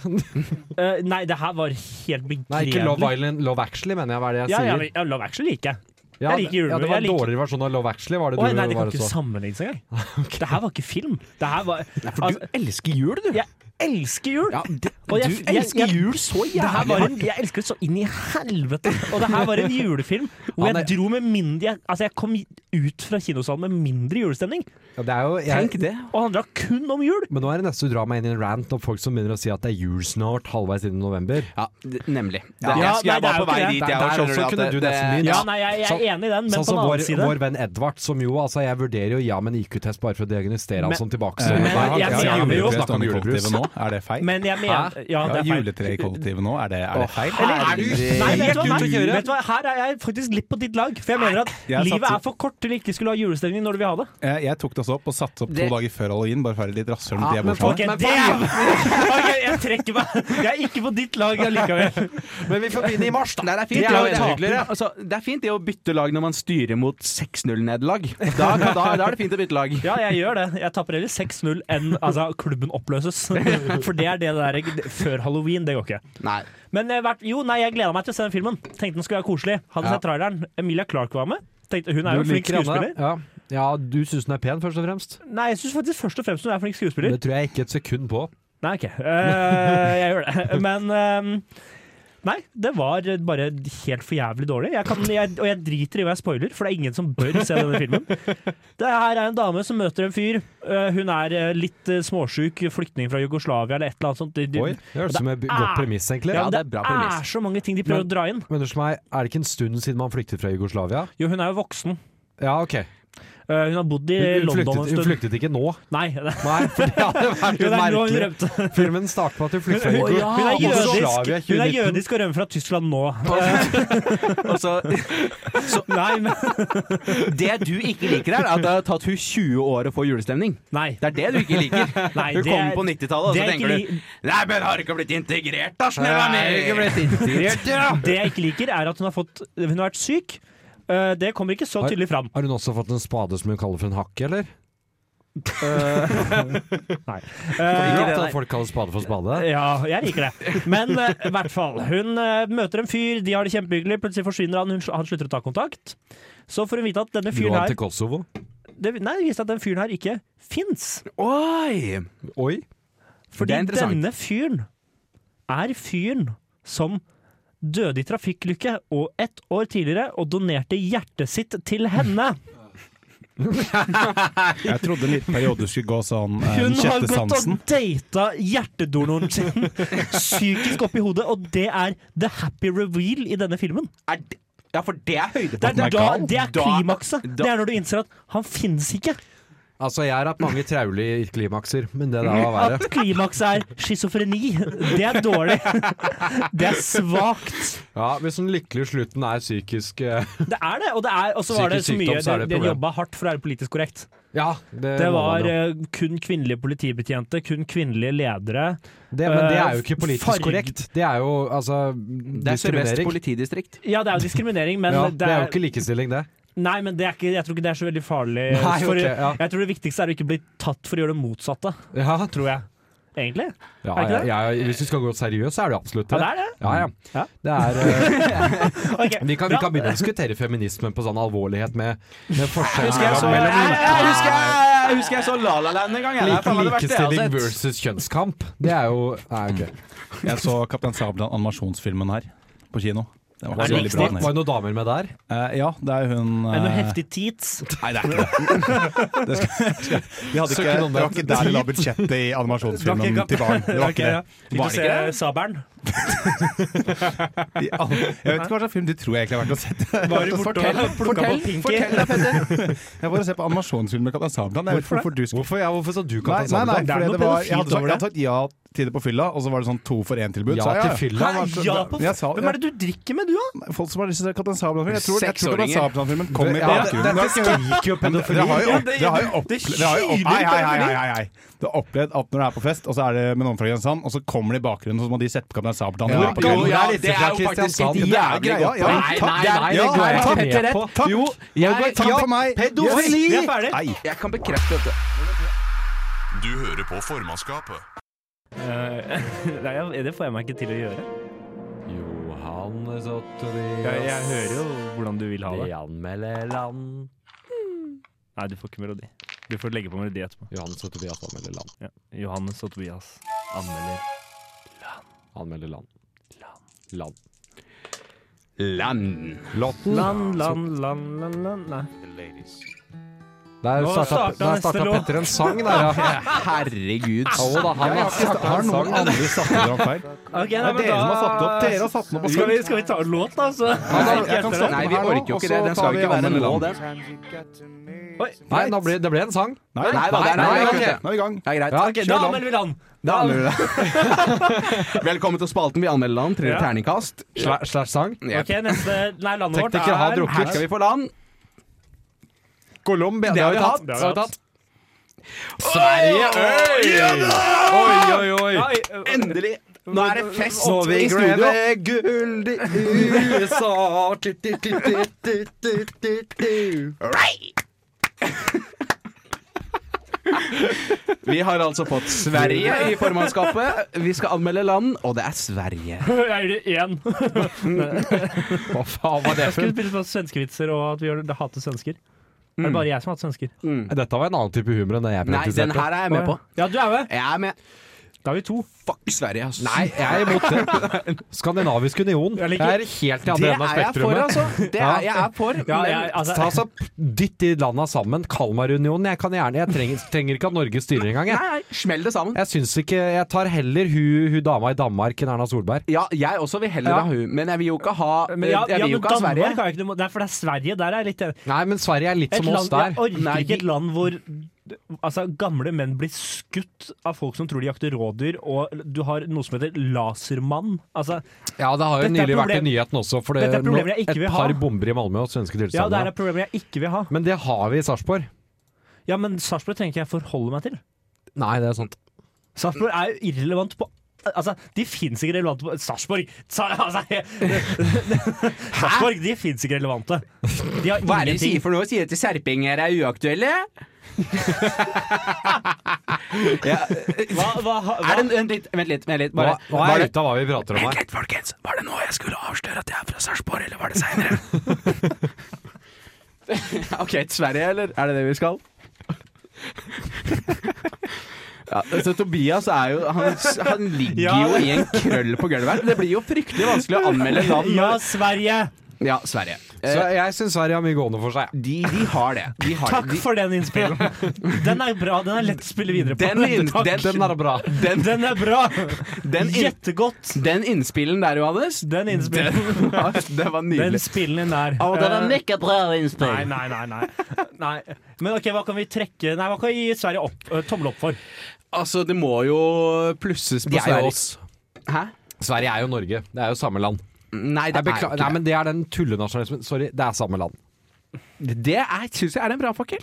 B: Eh, nei, det her var helt
E: Nei, ikke Love
B: begredelig.
E: Island, Love Actually, mener jeg. Hva er det jeg
B: Ja, ja,
E: sier?
B: men- ja, Love Actually liker jeg.
E: Ja,
B: jeg liker
E: det- Ja,
B: julemusikk,
E: det var en
B: jeg liker-
E: dårligere versjon av Love Actually, var det du
B: Oi, nei, det kan
E: var
B: ikke
E: så?
B: sammenlignes
E: <laughs>
B: engang. Det her var ikke film. Det her var
C: For
B: altså,
C: du elsker jul, du.
B: Jeg elsker jul!
C: Ja, det,
B: Og jeg-
C: du
B: jeg-
C: elsker
B: jeg-
C: jul så
B: Det her
C: jævlig
B: var
C: hardt.
B: en, jeg elsker det så inn i helvete! Og det her var en julefilm hvor
E: Han er-
B: jeg dro med mindre jeg, Altså, jeg kom ut fra kinosalen med mindre julestemning.
E: Ja, det er jo, jeg,
C: Tenk det.
B: Og handla kun om jul!
E: men nå er det neste du drar meg inn i en rant om folk som begynner å si at det er jul snart, halvveis inn i november.
C: Ja, d- nemlig.
B: Ja, nei,
C: jeg, jeg
B: det
C: var
B: er
C: på
B: jo
C: vei
B: ikke det.
C: dit,
E: Der-
C: jeg
E: der
C: også,
E: også
C: skjønner du,
E: kunne
C: at
E: du
C: det-
E: nesten begynt.
C: det-
B: Ja,
E: Ja.
B: nei, jeg, jeg
E: Sånn-
B: er enig i den, men
E: Sånn
B: på
E: som
B: den
E: vår,
B: annen side
E: vår venn Edvard, som jo altså, jeg vurderer jo ja, men IQ-test bare for å diagnostere han
B: Men-
E: som tilbake.
F: Eh,
E: Så,
B: Men-
F: har-
B: jeg
F: har
B: mener
F: juletre
B: jo-
F: stående i kollektivet nå. Er det feil?
B: Men jeg mener
F: Jeg
B: Ja, det
F: har
B: er feil.
F: juletre i kollektivet nå, er det, er det feil?
B: Eller- Nei, vet du, hva,
E: Helt ut å
B: nei,
E: kjøre.
B: vet du hva, her er jeg faktisk litt på ditt lag. For jeg mener at
F: Jeg
B: livet
F: satser-
B: er for kort til ikke skulle ha julestemning når du vil ha det.
F: Jeg, jeg tok det også opp og satte opp to
C: Det-
F: dager før halloween, bare for å være litt rasshøl med
E: Ja,
F: de jeg
E: men
F: bor sammen
E: folk-
B: Ok,
E: men-
B: damn! <laughs> Ok, jeg trekker meg. Jeg er ikke på ditt lag allikevel.
E: men vi får begynne i mars, da!
C: Nei, det er fint.
E: Det er jo
C: det, er jo
E: taper.
C: hyggeligere. altså, det er fint det å bytte lag når man styrer mot 6-0-nederlag. Da, da, da er det fint å bytte lag.
B: Ja, jeg gjør det. Jeg tapper heller 6-0 enn altså, klubben
E: <laughs>
B: oppløses. For det er det der jeg- før halloween. Det går ikke.
C: Nei.
B: Men eh, hvert- jo, nei, jeg gleda meg til å se den filmen. Tenkte den skulle være koselig. Hadde
C: Ja.
B: sett traileren. Emilia Clark var med. Tenkte, hun er jo
E: Du
B: en flink
E: liker henne.
B: skuespiller.
E: Ja. ja, du syns hun er pen, først og fremst.
B: Nei, jeg syns faktisk først og fremst hun er en flink skuespiller.
E: Det tror jeg ikke et sekund på.
B: Nei, ok. Eh, jeg gjør
E: <laughs>
B: det. Men ehm, Nei, det var bare helt for jævlig dårlig. Jeg kan, jeg, og jeg driter i hva jeg spoiler, for det er ingen som bør se denne filmen. Det her er en dame som møter en fyr. Eh, hun er eh, litt uh, småsjuk, flyktning fra Jugoslavia eller et eller annet sånt. De- de-
E: Oi, det høres ut som et b-
B: Ah!
E: godt premiss, egentlig.
B: ja,
C: Ja,
B: men
C: det
B: det
C: er bra
B: er,
C: premiss.
B: så mange ting de prøver
E: Men-
B: å dra inn.
E: Men unnskyld meg, er det ikke en stund siden man flyktet fra Jugoslavia?
B: Jo, hun er jo voksen.
E: Ja, ok.
B: Eh, hun har bodd i
E: Hun, hun,
B: London
E: flyktet,
B: en
E: hun
B: stund.
E: flyktet ikke nå.
B: Nei, <laughs> det
E: Nei, for
B: <laughs>
E: det hadde vært
B: det
E: jo
B: er nå hun
E: merkelig.
B: rømte.
E: Filmen starter med at hun flykter fra
B: Hun, hun,
E: Jugoslavia. Jugoslavia
B: er jødisk, hun er
E: 2019.
B: jødisk og rømmer fra Tyskland nå.
C: Og så,
B: Nei, men,
C: <laughs> det du ikke liker, er at det har tatt hun 20 år å få julestemning.
B: nei.
C: Det er det du ikke
B: <laughs>
C: liker.
B: Nei,
C: Hun
B: det
C: kommer
B: er-
C: på 90-tallet, og
B: det
C: så
B: er
C: tenker
B: ikke
C: du Nei, men har ikke blitt integrert, da, snøva
E: Nei, har ikke blitt
C: integrert, ja!
B: Det jeg ikke liker, er at hun har, fått, hun har vært syk. Eh, Det kommer ikke så
E: Har-
B: tydelig
C: <laughs>
B: fram.
E: Har hun også fått en spade som hun kaller for en hakk, eller?
B: Eh,
E: Ikke at folk kaller spade for spade.
B: ja, jeg liker det. Men eh, i hvert fall. Hun eh, møter en fyr, de har det kjempehyggelig. Plutselig forsvinner han, hun, sl- han slutter å ta kontakt. Så får hun vite at denne
E: Dro
B: fyren
E: han
B: her
E: til Kosovo?
B: det, Nei, det viser seg at den fyren her ikke fins.
C: <laughs> Oi!
E: Oi.
C: Det
B: Fordi
C: er interessant.
B: denne fyren er fyren som døde i trafikkulykke og ett år tidligere og donerte hjertet sitt til henne.
F: Jeg trodde en liten periode skulle gå sånn eh, den
B: Hun har
F: sjette
B: gått
F: sansen.
B: og data hjertedonoren sin psykisk oppi hodet, og det er the happy reveal i denne filmen.
C: Er det, ja, for det er
E: Oh
B: Det
C: høydepunktet.
B: er, da, det er
C: Da-
B: klimakset.
C: da-
B: Det er når du innser at han finnes ikke.
E: Altså, jeg har hatt mange traulige klimakser, men det der var
B: At <laughs>
E: verre.
B: klimakset er schizofreni. Det er dårlig. Det er svakt.
E: Ja, Hvis den lykkelige slutten er psykisk eh,
B: Det er det. Og det er, og så var det
E: Psykisk
B: så mye
E: sykdom, så er
B: De,
E: det et
B: de
E: problem.
B: jobba hardt for å være politisk korrekt.
E: <laughs> Ja, det,
B: Det
E: må
B: var
E: man jo.
B: eh, kun kvinnelige politibetjente, kun kvinnelige ledere.
E: det, Men det er jo ikke
B: farg-
E: politisk korrekt. Det er jo altså
C: Det er Sør-Vest
E: diskriminering.
C: politidistrikt.
B: Ja, det er jo diskriminering, men
E: Ja,
B: det
E: det er jo
B: er,
E: ikke likestilling, det.
B: Nei, men det er ikke, jeg tror ikke det er så veldig farlig.
E: Nei,
B: for,
E: ok, ja.
B: Jeg tror det viktigste er å ikke bli tatt for å gjøre det motsatte,
E: Ja,
B: tror jeg. Egentlig.
E: ja,
B: Er det ikke det?
E: ja, ja, Hvis du skal gå seriøst, så er det absolutt det.
B: Ja, det er det.
E: Ja, ja.
B: Ja.
E: Det er, eh,
B: Ok,
E: vi, kan, vi
B: bra.
E: kan begynne å diskutere feminismen på sånn alvorlighet med, med forskjell
C: Husker jeg så, jeg,
E: mellom
C: husker jeg, jeg husker jeg så La La Land en gang. Jeg. Det er
E: like,
C: faen meg det verste jeg har
E: likestilling
C: sett.
E: versus kjønnskamp. Det er jo Nei, ok.
F: Jeg så Kaptein Sabeltann animasjonsfilmen her på kino. Det var
B: Er
F: ikke så
B: det
F: veldig bra.
E: Var
F: den her.
E: det noen damer med der?
F: Eh, ja, det er hun
B: Er det noe
F: eh,
B: heftig teats?
F: Nei, det er ikke det. det skal, skal, vi hadde
E: Så
F: ikke,
E: ikke noen
B: <laughs>
F: det var ikke der de la budsjettet i animasjonsfilmen til barn. Det var ikke det.
B: Fikk du
C: Var det
B: se
C: ikke det?
B: Sabelen?
F: De alle- Jeg vet ikke hva slags film du tror jeg egentlig har vært og sett.
B: Var du borte
F: fortell,
B: og plukket
F: fortell,
B: på Pinky?
F: fortell da, Petter! <laughs> Jeg var og så på animasjonsfilm med Kaptein Sabeltann. Jeg vet ikke
B: Hvorfor
F: hvorfor du skulle
E: Hvorfor, ja, hvorfor sa du
F: Nei,
E: Kaptein
F: nei, nei
E: Sabeltann?
B: Det er
F: fordi
B: noe
F: det var, jeg
B: pedofilt
F: hadde sagt-
B: over
F: jeg hadde sagt ja til det på fylla, og så var det sånn to for én-tilbud.
E: Ja til fylla.
B: Hæ,
F: så-
B: ja på
F: Jeg sa-
B: Hvem er det du drikker med, du, da?
F: Folk som har lyst til å se Kaptein Sabeltann-film. Jeg tror, jeg tror Kaptein
C: Seksåringer.
F: Sabeltann-filmen kom i
E: Ja,
F: bakgrunnen.
E: det-
F: Det har ikke-
E: skriker jo
F: Men det, det har jo opp, det har jo opp,
B: Det
F: det har jo opp,
B: kyler
F: hei, hei, hei, hei, hei. Du har opplevd at når du er på fest, og så er det med noen fra Kristiansand, og så kommer de i bakgrunnen, og så må de sette på Kaptein Sabeltann.
E: Ja.
F: Ja.
E: Jo, jeg er
C: det er jo faktisk et
E: Kristiansand.
C: jævlig
F: Ja,
C: godt
F: ja,
C: poeng.
F: ja.
E: Nei, nei, nei, det
F: Ja,
E: går jeg
F: takk,
E: ikke med
C: Petter
E: på.
C: rett. Jo, jeg går
F: Takk for meg.
C: Pedofili!
B: Vi er ferdig.
F: Nei.
C: Jeg kan bekrefte dette.
A: Du hører på formannskapet.
B: Eh, <laughs> Nei, jeg- det får jeg meg ikke til å gjøre.
E: Johannes
B: Jeg, jeg
E: Ottovias
B: hører jo hvordan du vil ha det.
E: Jan Melleland.
B: Nei, du får ikke melodi. Du får legge på melodi etterpå.
E: Johannes Ottovias anmelder land.
B: Ja. Johannes og Tobias anmelder
E: Anmelder land. Land.
C: Land.
B: Land, land, land, land, land. Nei.
E: Der
B: Nå
E: starta,
B: starta
E: der
B: neste
E: starta
B: låt.
E: Petter en sang, der, ja.
C: Herregud.
E: Jo da, han har starta
F: Har
E: en
F: noen
E: sang.
F: andre satt det opp feil?
B: Ok, nei,
F: Det er
B: men
F: dere som har satt det opp. Dere har satt det opp. og
B: Skal vi, skal vi ta en låt, da? Så?
F: da, jeg kan stoppe.
C: Nei, vi orker jo ikke det. Den skal jo ikke være nå, den.
E: Nei, da ble, det ble en sang.
F: Nei,
C: Nei da, det
F: nå er vi i
C: er- nei,
F: gang.
C: ok.
F: Nå er vi i gang.
C: Det er greit.
E: Ja,
B: Ok,
C: Kjør
B: da
C: land.
B: anmelder vi land!
C: Da anmelder vi <laughs> det. Velkommen til spalten vi anmelder land. Tredje
B: Ja.
C: terningkast.
E: Sla- Slash sang.
C: Ja.
B: Ok, neste Nei, landet vårt
E: Teknikere har
B: er
E: drukket.
C: Her skal vi få land.
E: Colombia.
C: Det har vi
B: Det har
E: Det har vi
B: vi
E: tatt. Sverige! Oi, oi, oi.
B: Oi, øh,
C: Endelig. Nå er det fest
E: Nå
C: i
E: vil
C: studio.
E: greve gull i USA. Tu, tu, tu, tu, tu, tu, tu, tu.
C: Vi har altså fått Sverige i formannskapet. Vi skal anmelde land, og det er Sverige.
B: Jeg gjør det
C: <laughs>
B: igjen.
E: Hva faen var det
B: Jeg skulle spille på svenskevitser og at vi gjør- hater svensker. Er
C: Mm.
B: det bare jeg som hater svensker?
E: Dette var en annen type humor enn den jeg
C: Nei, den her er jeg med på.
B: Ja, du er med.
C: Jeg er med.
B: Da er vi to.
C: Fuck Sverige, altså.
E: Nei, jeg er imot det. Skandinavisk union.
B: Jeg
E: Jeg
B: liker-
E: er helt i
C: det
E: andre enden av
C: er jeg for,
E: spektrumet.
C: altså. Det er, jeg er for.
B: Ja,
C: men-
B: jeg, altså,
E: Ta så Dytt de landa sammen. Kalmarunionen. Jeg kan gjerne Jeg trenger, trenger ikke at Norge styrer engang.
C: Nei,
E: Jeg.
C: nei, smell det sammen.
E: jeg syns ikke Jeg tar heller hun hu dama i Danmark enn Erna Solberg.
C: Ja, jeg også vil heller
E: Ja.
C: ha hun, men jeg vil jo ikke ha
B: <laughs> men ja,
C: Jeg
B: ja,
C: vil jo
B: men
C: ikke ha Sverige.
B: Danmark har jeg ikke noe Det er for det er Sverige. Der er jeg litt enig.
E: Nei, men Sverige er litt
B: Et
E: som oss
B: land,
E: der.
B: jeg orker
C: Nei,
B: ikke et land hvor altså, gamle menn blir skutt av folk som tror de jakter rådyr, og du har noe som heter lasermann. Altså,
E: Ja, det har jo
B: Dette er
E: nylig vært i
B: problem-
E: nyheten også, for det
B: Dette er problemer
E: no-
B: jeg ikke
E: et
B: vil ha.
E: par bomber i Malmö og svenske
B: ja,
C: Sånn,
B: det
E: tilstander.
B: er et problem jeg ikke vil ha.
E: men det har vi i Sarpsborg.
B: Ja, men Sarpsborg trenger ikke jeg forholde meg til.
E: Nei, det er sant.
B: Sarpsborg er jo irrelevant på Altså, de fins ikke relevante på Sarpsborg! Sa- Altså, <laughs> Sarpsborg, de fins ikke relevante. De har
C: Hva er
B: ingenting.
C: det de sier for noe? Sier de til serpinger er uaktuelle? ja.
B: Hva, hva, hva?
C: Er det en, en litt, vent litt, vent litt.
E: Nå
C: Bare,
E: nå
C: var
E: er jeg
C: det,
E: ute av hva vi prater om
C: vent
E: her.
C: litt, folkens. Var det nå jeg skulle avsløre at jeg er fra Sarpsborg, eller var det <laughs> seinere? OK, til Sverige, eller? Er det det vi skal? <laughs> Ja, så Tobias er jo Han, han ligger
B: Ja.
C: jo i en krøll på gulvet her. Det blir jo fryktelig vanskelig å anmelde land.
B: Ja, Sverige!
C: Ja, Sverige.
E: Så
C: Eh,
E: jeg syns Sverige har mye gående for seg.
C: de, de har det. De har
B: Takk
C: det. De,
B: for den
C: <laughs>
B: innspillen. Den er bra. Den er lett å spille videre på.
C: Den inn-
B: Takk.
C: den-
E: Den er bra.
C: den,
B: Den er bra!
C: den, inn-
B: Jettegodt!
C: den innspillen der, Johannes,
B: Den innspillen
C: var- det var
B: Den
C: nydelig.
B: spillen din der. Eh,
C: mykket bra
B: Nei,
C: innspill.
B: nei, nei, nei. nei. Men ok, hva kan vi trekke Nei, hva kan vi gi Sverige opp, eh, tommel opp for?
C: Altså, det må jo plusses på
E: De er jo
C: Sverige.
E: oss.
C: Hæ?
E: Sverige er jo Norge. Det er jo samme land.
C: Nei,
E: Jeg
C: det er jo
E: beklager,
C: ikke
E: nei, men det er den tullenasjonalismen. Sorry, det er samme land.
C: det. Det er- synes jeg er en bra fakkel.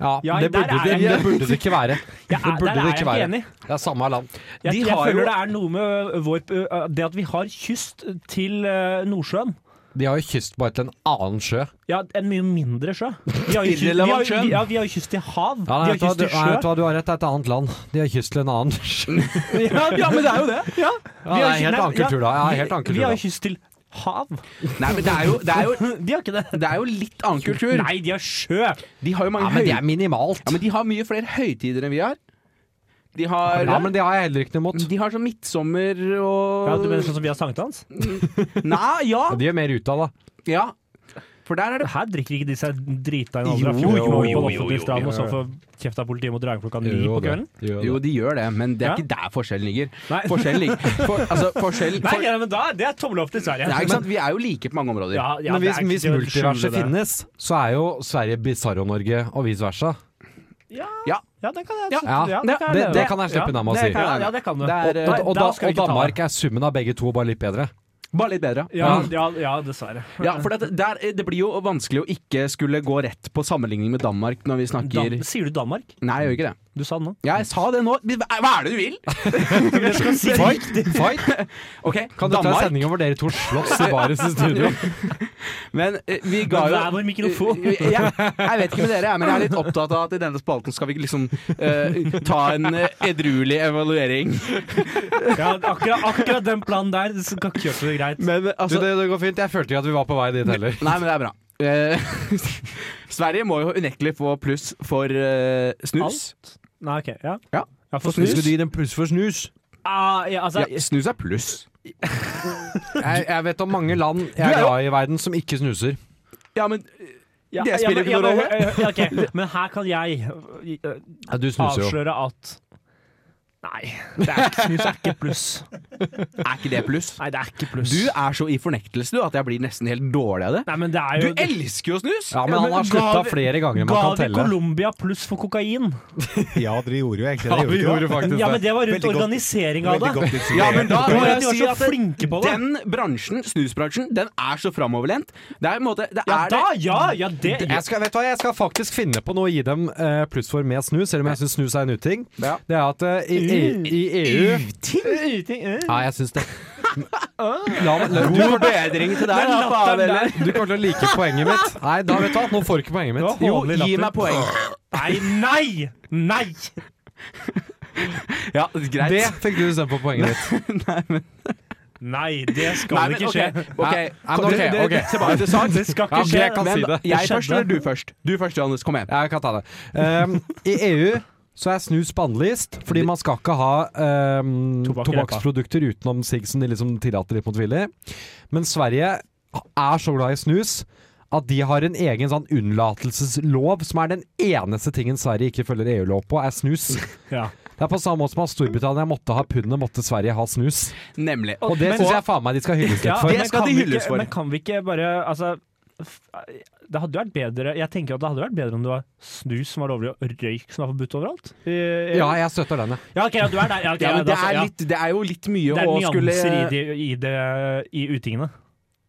E: Ja,
B: Ja,
E: det,
B: der
E: burde
B: er
E: det,
B: jeg-
E: det burde det ikke
B: <laughs>
E: være.
B: Jeg
E: Det
B: er,
E: burde
B: der
E: det
B: er jeg
E: ikke
B: ikke
E: være.
B: enig.
E: Det er samme land.
B: Jeg,
C: De
B: jeg
C: har
B: føler
C: jo-
B: det er noe med vår, eh, det at vi har kyst til eh, Nordsjøen.
E: De har jo kyst bare til en annen sjø.
B: Ja, en mye mindre sjø. Vi har jo kyst, vi har,
C: Irrelevant sjø.
B: ja, vi har jo kyst til hav.
E: Ja, nei,
B: vi har
E: vet du hva,
B: kyst
E: du,
B: til
E: nei, vet du
B: sjø.
E: hva, du har rett, det er et annet land. De har kyst til en annen <laughs> sjø.
B: <laughs> Ja, ja, men det er jo det!
E: Ja, det
B: Ja, Vi har
E: er
B: kyst-
E: helt
B: nei,
E: annen
B: ja,
E: kultur da. Ja, helt annen
B: Vi
E: kultur
B: har
E: da.
B: jo kyst til hav.
C: Nei, men det er jo, det er jo,
B: <laughs> De har ikke det.
C: det er jo litt annen kultur.
B: Nei, de har sjø.
C: De har jo mange
E: Ja, men det
C: høy-
E: er minimalt.
C: ja, men de har mye flere høytider enn vi har. De har,
E: Ja, men det har jeg heller ikke noe imot.
C: de har sånn midtsommer
B: Ja, du mener
C: og
B: sånn som vi har sankthans?
C: Nei,
E: Ja,
C: ja.
E: de er mer ut av det.
C: ja. For der er det
B: Her drikker ikke de seg drita i en alder
C: Jo,
B: av 14 år
C: jo,
B: på en
C: jo, jo,
B: offentlig
C: jo,
B: strand,
E: jo.
B: og så får kjeft av politiet mot dragen klokka ni
E: Jo,
B: på
E: det.
B: kvelden?
E: Jo, det.
C: Jo, de gjør det, men det er
B: Ja.
C: ikke der forskjellen ligger.
B: Nei.
C: Forskjellen ligger for, Altså,
B: <laughs>
C: forskjell
B: Nei,
C: for,
B: ja, men da, det er tommel opp til Sverige.
C: Nei, ikke sant? Vi er jo like på mange områder.
B: Ja, ja,
E: Men
B: det
E: hvis,
B: er ikke-
E: hvis
B: det er å skjule
E: multiverset
B: det.
E: finnes, så er jo Sverige Bizarro-Norge og vice versa.
B: Ja,
C: Ja.
B: ja, den kan jeg
C: Ja,
B: ja,
C: det-
B: kan jeg
E: det-
B: leve
E: det
B: med.
E: kan jeg slippe
B: Ja,
E: unna med å
B: det
E: si.
B: kan jeg- Ja, det kan du.
C: Det er, eh,
B: Nei,
E: Og, og,
B: da
E: da,
B: skal vi
E: og
B: ikke ta
E: Danmark er summen av begge to, bare litt bedre.
C: Bare litt bedre.
B: Ja, ja, ja, dessverre.
C: Ja, for det, der, eh, det blir jo vanskelig å ikke skulle gå rett på sammenligning med Danmark når vi snakker
B: Dan sier du Danmark?
C: Nei, jeg gjør ikke det.
B: Du sa det nå.
C: Jeg sa det nå. Hva er det du vil?
E: Fight! Fight!
C: Ok,
E: <laughs> Kan du ta en
C: Danmark.
E: sending hvor dere to slåss i baris i <laughs> studio?
C: <laughs> Men eh, vi ga
B: Men
C: jo
B: hver vår mikrofon.
C: Eh, eh, <laughs> ja, jeg vet ikke med dere, men jeg er litt opptatt av at i denne spalten skal vi liksom eh, ta en eh, edruelig evaluering.
B: Ja, akkurat, akkurat den planen der det skal ikke gjøre det greit.
C: Men
E: Du,
C: altså
E: det, det går fint. Jeg følte ikke at vi var på vei dit heller.
C: Nei, men det er bra. Eh, <laughs> Sverige må jo unektelig få pluss for eh, snus.
B: Nei, ok, ja.
C: Ja.
B: ja for snus
E: gi dem pluss for snus?
B: ah, ja, altså,
C: Ja, snus er pluss.
E: Jeg, jeg vet om mange land jeg
C: Du er
E: er
C: jo-
E: glad i i verden som ikke snuser.
C: Ja, men
B: ja,
C: det spiller
B: men-
C: ikke noe
B: men- ja, ok, Men her kan jeg øh,
E: Ja, du snuser jo.
B: avsløre at Nei, det er ikke, snus er ikke pluss.
C: er ikke det pluss?
B: Nei, det er ikke pluss.
C: Du er så i fornektelse du at jeg blir nesten helt dårlig av det.
B: Nei, men det er
C: Du
B: jo
C: elsker jo snus!
E: Ja, men han har slutta flere ganger. Man
B: Ga
E: kan
B: vi
E: telle.
B: Colombia pluss for kokain?
F: Ja, dere gjorde jo egentlig
E: Ja,
F: det.
E: vi gjorde faktisk
B: Ja, men
E: det.
B: det var rundt
F: Veldig godt.
B: organiseringa av det.
C: Ja, men
B: Det
C: da må
B: var at
C: jeg
B: de var
C: si
B: så
C: at det-
B: flinke på det.
C: den bransjen, snusbransjen, den er så framoverlent. Det er en måte Det
B: Ja
C: er
B: da,
C: det
B: ja, ja, det
E: Jeg skal, vet du hva, jeg skal faktisk finne på noe å gi dem eh, pluss for med snus, selv om jeg syns snus er en uting.
C: Ja.
E: Det er at eh, i, i, i EU
B: Uting! øh.
E: Ja, jeg syns det. La, meg- la, du,
C: God bedring til
B: Den
C: deg, da,
B: latteren
C: faen
B: der.
C: heller.
E: du kommer til å like poenget mitt. Nei, da vet du hva, nå får du ikke poenget
B: Det var
E: mitt.
B: hånlig
C: Jo, gi
B: latter.
C: meg poeng.
B: Nei, nei! Nei!
C: Ja, greit.
E: Det fikk du stemt på poenget ditt.
B: Nei, det skal
C: Nei, men,
B: ikke skje.
C: ok, ok.
E: Nei, men ok,
C: Det- det-
E: ok.
C: det- Tilbake til sak.
B: Det skal
E: Ja,
B: ikke
E: ok,
B: skje.
E: jeg kan
C: Men
E: si det.
C: jeg
B: Det
C: først,
B: skjedde.
C: eller du først? Du først, Johannes. Kom igjen.
E: Jeg kan ta det. Um, I EU så er snus bannlyst, fordi man skal ikke ha um,
B: Tobakk i
E: tobakksprodukter utenom sigg som de liksom tillater litt motvillig. Men Sverige er så glad i snus at de har en egen sånn unnlatelseslov, som er den eneste tingen Sverige ikke følger EU-lov på, er snus.
B: Ja.
E: Det er på samme måte som at Storbritannia måtte ha pundet, måtte Sverige ha snus.
C: Nemlig.
E: Og det
B: Men-
E: syns jeg faen meg de skal hylles litt
B: Ja,
E: for.
C: det
B: men
C: skal
B: kan
C: de
B: vi
C: hylles
B: ikke-
C: for.
B: Men kan vi ikke bare Altså f- det hadde jo vært bedre Jeg tenker at det hadde vært bedre om det var snus som var lovlig, og røyk som var forbudt overalt. Eh,
E: Ja, jeg støtter den, jeg.
B: ja, ok, ja, du er der. Ja, ok,
C: Ja,
B: ja,
C: men det
B: da-
C: er,
B: ja.
C: litt, det er jo litt mye
B: det er
C: å skulle
B: nyanser i, det, i, det, i utingene.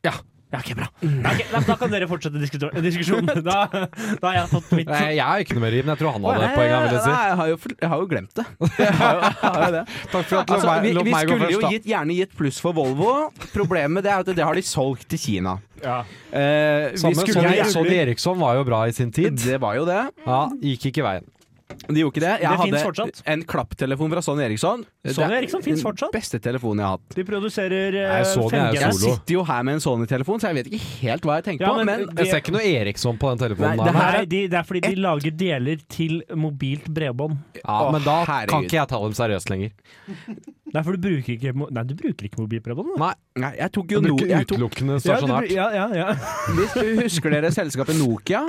C: Ja.
B: Ja, ok, bra. Ja, ok, da, da kan dere fortsette diskuto- <laughs> diskusjonen. Da, da har jeg fått mitt
E: Nei, Jeg har ikke noe mer i, men jeg tror han hadde et poeng. han ville si.
C: Nei, jeg har jo, jeg har jo glemt det. Jeg har jo, jeg har jo det.
E: Takk for at du
C: Altså,
E: lot meg-
C: vi,
E: lot
C: vi
E: meg gå
C: skulle jo
E: først, da.
C: gitt, gjerne gitt pluss for Volvo. Problemet det er at det har de solgt til Kina.
B: ja.
C: Eh, vi
E: Samme
C: skulle
E: Sonny,
C: gjerne-
E: Sonny Eriksson var jo bra i sin tid.
C: Det var jo det.
E: Ja, gikk ikke veien.
C: De gjorde ikke det. Jeg
B: Det finnes
C: hadde
B: fortsatt.
C: en klapptelefon fra Sonny Eriksson.
B: Sonny Eriksson finnes fortsatt.
C: Den beste telefonen jeg har hatt.
B: De produserer
E: Nei,
B: eh,
E: Sony er
B: 5G.
E: jo
C: Jeg
E: Solo.
C: sitter jo her med en Sony-telefon, så jeg vet ikke helt hå jeg tenker
B: Ja,
C: på.
B: men
C: Men
B: det-
E: Jeg ser ikke noe Eriksson på den telefonen.
C: Nei,
E: der,
C: det her-
E: men-
B: Nei, de, det er fordi de lager deler til mobilt bredbånd.
E: ja, men da
C: Å, herregud.
E: kan ikke jeg ta dem seriøst lenger.
B: Nei, for du bruker ikke, mo- nei, du bruker ikke mobilt bredbånd. da.
E: Nei,
C: Nei, jeg tok
E: jeg
C: jo no,
E: bruker
C: jeg tok,
E: utelukkende
B: Ja, du,
E: stasjonært.
B: ja, ja, ja.
C: Hvis du husker dere selskapet Nokia?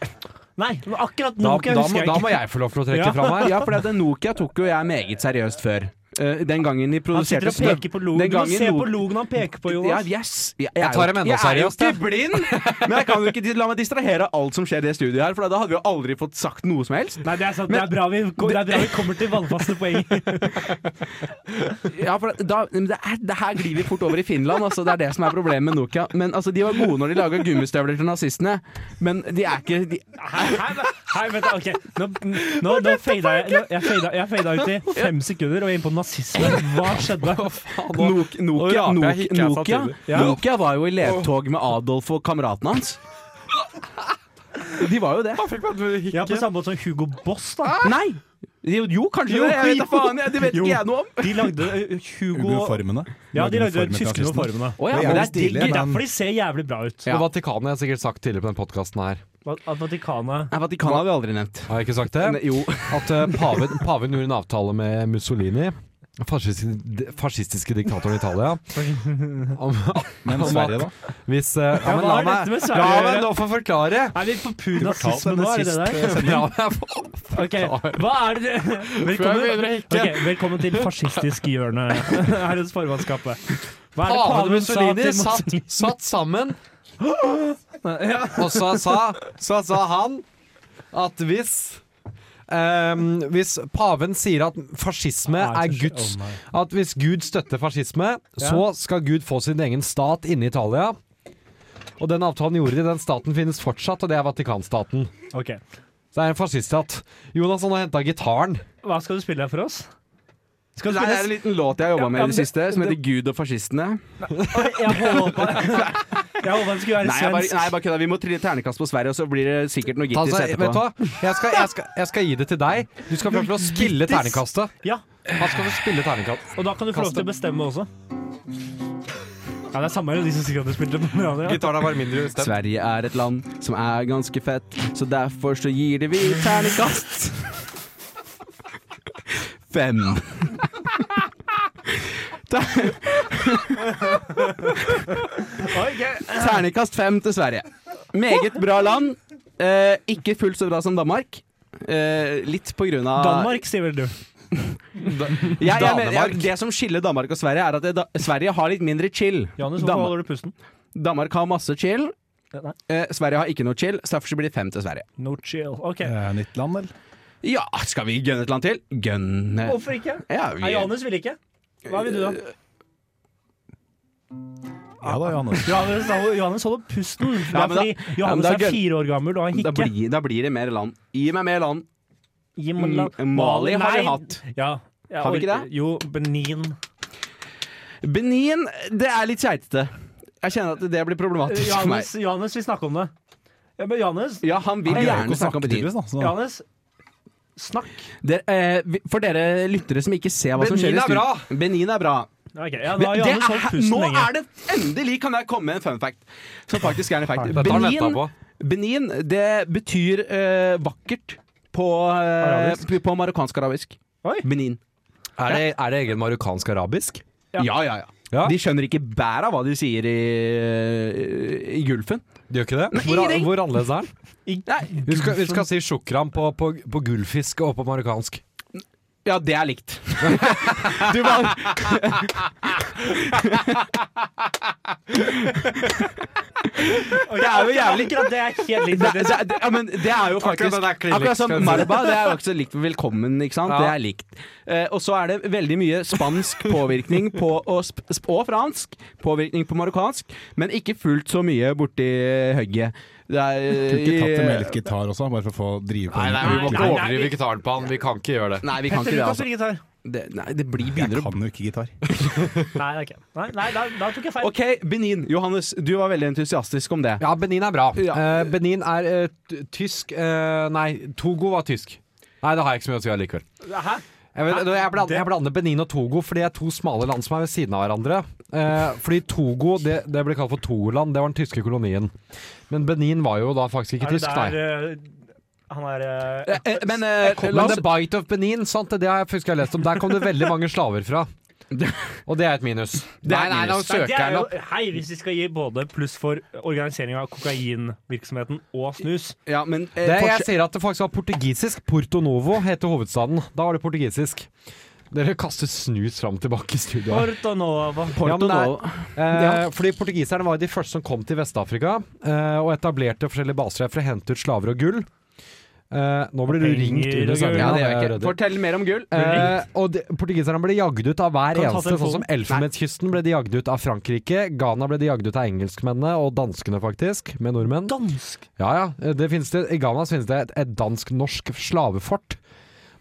E: <laughs>
B: Nei, men akkurat
E: Da,
B: Nokia
E: da,
B: husker
E: må,
B: jeg
E: da
B: ikke.
E: må jeg få lov til å
B: Ja.
E: trekke fra meg.
C: Ja, for Nokia tok jo jeg meget seriøst før. Eh, Den gangen de
B: Han sitter
C: produserte
B: og peker på logen.
C: Den
B: Du må
C: gangen
B: se
C: Nok-
B: på logen han peker på,
C: Ja,
B: Jonas.
C: yes. Jeg, er
E: Jeg tar
C: jo-
E: dem ennå seriøst, jeg.
C: Jeg er jo ikke <laughs> blind! Men jeg kan jo ikke la meg distrahere av alt som skjer i det studioet her, for da hadde vi jo aldri fått sagt noe som helst.
B: Nei, det er sant. Det er bra vi, det er bra vi kommer til vannfaste poeng.
C: Ja, for da, men det, er, det her glir vi fort over i Finland, altså. Det er det som er problemet med Nokia. Men altså, De var gode når de laga gummistøvler til nazistene, men de er ikke de,
B: Hei, hei, hei, vent da, ok. Nå, nå, nå fada jeg, nå, jeg, fada, jeg fada ut i fem sekunder og inn på nazisme. Hva skjedde?
C: Nok, Nokia,
E: Oi,
C: Nok-
E: ja, jeg hikker jeg
C: Nokia,
E: samtidig.
B: Ja.
C: Nokia var jo i ledtog med Adolf og kameraten hans. De var jo det.
B: Ja, på samme måte som Hugo Boss, da.
E: Ah!
C: Nei! Jo, jo kanskje
B: Jo,
C: det. Jeg vet da
B: jo.
C: faen, jeg- det vet ikke
B: Jo.
C: jeg noe om.
B: De lagde eh, Hugo
F: Uniformene.
B: Ja, de lagde
F: Uniformen til
B: tyske
F: nazistene.
B: uniformene.
C: Å
F: Det er
C: ja, men
F: jo
C: det er
F: stilig,
C: digg.
F: da.
B: Derfor de ser jævlig bra ut.
E: Og Vatikanet har jeg sikkert sagt tidligere på den podkasten her.
B: At Vatikanet
C: Nei, Vatikanet har vi aldri nevnt.
E: Har jeg ikke sagt det?
C: Jo.
E: At eh, paven, paven gjorde en avtale med Mussolini fascistiske, fascistiske diktatoren i Italia om,
F: Men
E: om
F: Sverige,
E: at-
F: da?
E: Hvis, eh, ja,
B: Ja,
E: men
B: hva
E: la
B: er dette med
E: meg,
B: Sverige
E: la
B: å
E: meg
B: gjøre?
E: nå få forklare!
B: <laughs> Er vi på pur
F: fortalte
B: nazisme
F: det
B: nå, er det det der?
E: La meg få <laughs>
B: Ok, hva er det Velkommen,
E: begynner å hikke.
B: Ok, velkommen til fascistisk hjørne her hos formannskapet. Hva er
E: Paven
B: det
E: og
B: paven sa
E: Mussolini
B: til
E: satt,
B: Mussolini?
E: <laughs> satt
B: <gasps>
E: sammen, og så sa, så sa han at hvis ehm, hvis paven sier at fascisme er Guds
B: Å, nei.
E: At hvis Gud støtter fascisme, så skal Gud få sin egen stat inne i Italia. Og den avtalen gjorde de. Den staten finnes fortsatt, og det er Vatikanstaten.
B: Ok,
E: Så det er en fasciststat. Jonas han har henta gitaren.
B: hva skal du spille her for oss? Skal du
C: Det er en
B: spille
C: liten låt jeg har jobba med i det siste, som heter 'Gud og fascistene'.
B: Jeg
C: <laughs>
B: håpa <laughs> Jeg håpa det skulle være
C: Nei, jeg bare, nei, jeg
B: svensk.
C: bare kødda. Vi må trille ternekast på Sverige, og så blir det sikkert noe
E: Ta,
C: gittis
E: så, vet du
C: etterpå.
E: hva? Jeg skal, jeg, skal, jeg skal gi det til deg. Du skal få lov til å spille ternekastet.
B: Ja,
E: Han skal få spille ternekast.
B: og da kan du få lov til å bestemme også. Ja, det er samme melodi som sikkert hadde spilt det på radio. Ja.
E: Gitaren er bare mindre stemt.
C: Sverige er et land som er ganske fett, så derfor så gir det vi ternekast. Fem. Ter- Ternekast fem til Sverige. Meget bra land. Eh, ikke fullt så bra som Danmark. Eh, litt på grunn av
B: Danmark, sier vel du.
C: Ja, jeg mener,
E: Danemark.
C: ja, det som skiller Danmark og Sverige, er at det, da, Sverige har litt mindre chill.
B: Janus, hvorfor
C: Danmark,
B: holder du pusten?
C: Danmark har masse chill.
B: Nei.
C: Eh, Sverige har ikke noe chill, så derfor så blir det fem til Sverige.
B: No chill. Ok,
F: Eh, Nytt land, eller?
C: Ja, skal vi gønne et land til? Gønne
B: hvorfor ikke?
C: ja,
B: Nei,
C: vi, Eh,
B: Janus ville ikke. Hva vil du, da?
F: Ja da,
B: <laughs>
F: Johannes.
B: Johannes, Johannes holder pusten. Det
C: Ja,
B: er
C: men da-
B: fordi
C: ja, men
B: Johannes
C: da
B: er
C: gønn-
B: fire år gammel og har
C: da,
B: hikke.
C: blir, da blir det mer land. Gi meg mer land.
B: Gi meg
C: M-
B: la-
C: Mali har vi
B: Nei.
C: hatt.
B: Ja. Jeg
C: Har vi ikke
B: orker-
C: det?
B: Jo, Benin.
C: Benin, det er litt keitete. Jeg kjenner at det blir problematisk for meg.
B: Johannes, Johannes vil snakke om det. Ja, men Johannes,
C: Ja, han vil
F: Han greier ikke å
C: gjerne snakke
F: snakke
C: om Benin.
F: tydeligvis, da. Så.
B: Johannes snakk.
C: Dere, eh, vi- for dere lyttere som ikke ser hva som
E: Benin
C: skjer i
E: er bra.
C: studio Benin er bra.
B: Ok, ja,
C: Det
B: da har Johannes
C: er,
B: holdt pusten
C: nå
B: lenge.
C: er det endelig kan jeg komme med en fun fact. Som faktisk er en fact.
E: Dette har han ventet
C: Benin,
E: på.
C: Benin det betyr eh, vakkert på, eh,
B: Arabisk?
C: på marokkansk-arabisk.
B: Oi.
C: Benin.
E: Er det, er det egen marokkansk-arabisk?
B: Ja.
C: Ja, ja, ja.
E: Ja.
C: De skjønner ikke bæret av hva de sier i, i Gulfen.
E: De gjør ikke det? Hvor,
C: ingenting.
E: hvor annerledes er den?
C: Nei,
E: Vi skal, vi skal si sjokram på, på, på gullfisk og på marokkansk.
C: ja, det er likt. Du var
B: Ok,
C: det er jo
B: akkurat-
C: jævlig.
B: Akkurat det er helt likt.
C: det, det, det, ja, men det er jo faktisk
E: den er
C: Akkurat,
E: klin likt,
C: som
E: skal jeg si.
C: Marba, det er jo også likt velkommen, ikke sant?
E: Ja.
C: Det er likt. Eh, og så er det veldig mye spansk påvirkning på, og, sp sp og fransk påvirkning på marokkansk, men ikke fullt så mye borti høgget. Det er
F: Kunne ikke tatt det med
C: i-
F: litt gitar også, bare for å få drive på
B: nei, vi må ikke over- overdrive
E: gitaren på han. Vi kan ikke gjøre
C: Nei, vi kan
B: Petter, du
C: ikke det,
B: kan
C: altså.
B: spille gitar.
C: Det, nei, det blir
F: Jeg
C: begynner å
F: kan jo ikke gitar.
B: Nei, det er ikke. Nei, nei da, da tok jeg feil.
C: OK, Benin. Johannes, du var veldig entusiastisk om det.
E: Ja, Benin er bra.
C: Ja.
E: Eh, Benin er eh, t- tysk eh, Nei, Togo var tysk. Nei, det har jeg ikke så mye å si allikevel.
B: Hæ?
E: Jeg, vet, jeg, blander,
B: Det-
E: jeg blander Benin og Togo, for det er to smale land som er ved siden av hverandre. Eh, fordi Togo det, det ble kalt for Togoland. Det var den tyske kolonien. Men Benin var jo da faktisk
B: Er
E: ikke
B: det
E: tysk, nei.
B: der eh, han er eh,
C: Eh, eh, Men eh, la
E: Men
C: oss
E: The Bite of Benin, sant, det har jeg faktisk jeg har lest om. Der kom det veldig mange slaver fra.
B: <laughs>
E: Og det er et minus.
C: Det er et minus.
B: Nei, det er jo, hei, hvis vi skal gi både pluss for organisering av kokainvirksomheten og snus
C: ja, men,
E: Det,
C: eh,
E: jeg
C: forskjell-
E: sier at det faktisk var portugisisk. Porto Novo heter hovedstaden. Da var det portugisisk. Dere kaster snus fram og tilbake i studio. her.
B: Porto Nova.
E: Ja, men det er-
C: Novo.
E: Eh, fordi Portugiserne var jo de første som kom til Vest-Afrika eh, og etablerte forskjellige baser her for å hente ut slaver og gull. Eh, nå blir du
B: Penger
E: ringt
B: og gull.
E: under sendinga.
C: ja, det gjør jeg
E: Rødder.
C: ikke. Fortell mer om gull.
E: Eh, og de, Portugiserne ble jagd ut av hver
B: Kan du ta
E: eneste. Sånn som Elfenbenskysten ble de jagd ut av Frankrike. Ghana ble de jagd ut av engelskmennene og danskene, faktisk. Med nordmenn.
B: Dansk.
E: Ja, ja. Det finnes det, I Ghana finnes det et, et dansk-norsk slavefort.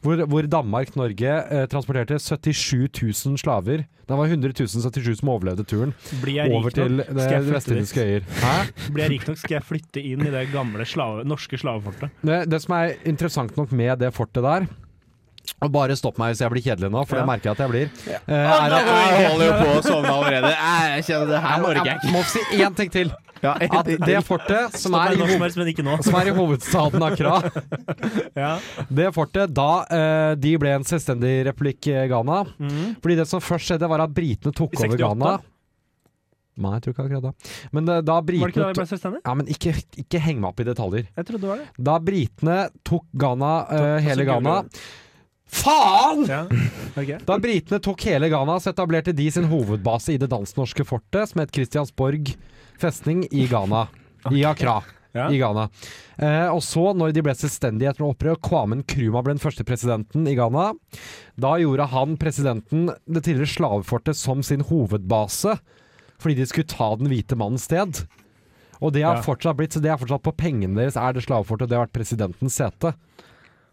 E: Hvor, hvor Danmark-Norge eh, transporterte 77 000 slaver. Det var 100 077 som overlevde turen.
B: Blir jeg
E: Over
B: rik
E: til
B: nok, skal
E: det
B: jeg flytte dit.
E: vestindiske øyer. Hæ?
B: Blir jeg rik nok, skal jeg flytte inn i det gamle slave, norske slavefortet.
E: Det, det som er interessant nok med det fortet der og Bare stopp meg hvis jeg blir kjedelig nå, for
B: Ja.
E: det merker jeg at jeg blir. Eh, er at-
C: Jeg holder jo på å sovne allerede. Jeg kjenner det her
E: Jeg må si én ting til.
F: Ja, jeg-
E: At det fortet som er,
B: Nei,
E: i
B: når som
E: hov-
B: helst, men ikke nå.
E: som er i hovedstaden Accra
B: Ja.
E: Det fortet, da eh, de ble en selvstendig republikk eh, Ghana
B: Mhm.
E: Fordi det som først skjedde var at britene tok
B: I
E: over
B: 68?
E: Ghana Nei, jeg tror ikke akkurat da Men eh, da
B: Var det ikke da
E: britene
B: vi ble selvstendige?
E: Ja, men ikke, ikke heng meg opp i detaljer
B: Jeg trodde det var det.
E: Da britene tok Ghana, eh,
B: altså,
E: hele Ghana
B: Ghana.
E: Faen!
B: Ja. Ok.
E: Da britene tok hele Ghana, så etablerte de sin hovedbase i det dansk-norske fortet, som het Christiansborg festning i Ghana. I Accra.
B: Ja.
E: I Ghana. Eh, og så, når de ble selvstendige etter opprør, Kwamen Kruma ble den første presidenten i Ghana. Da gjorde han presidenten det tidligere slavefortet som sin hovedbase, fordi de skulle ta den hvite mannens sted. Og det har
B: Ja.
E: fortsatt blitt, så det er fortsatt på pengene deres, er det slavefortet, og det har vært presidentens sete.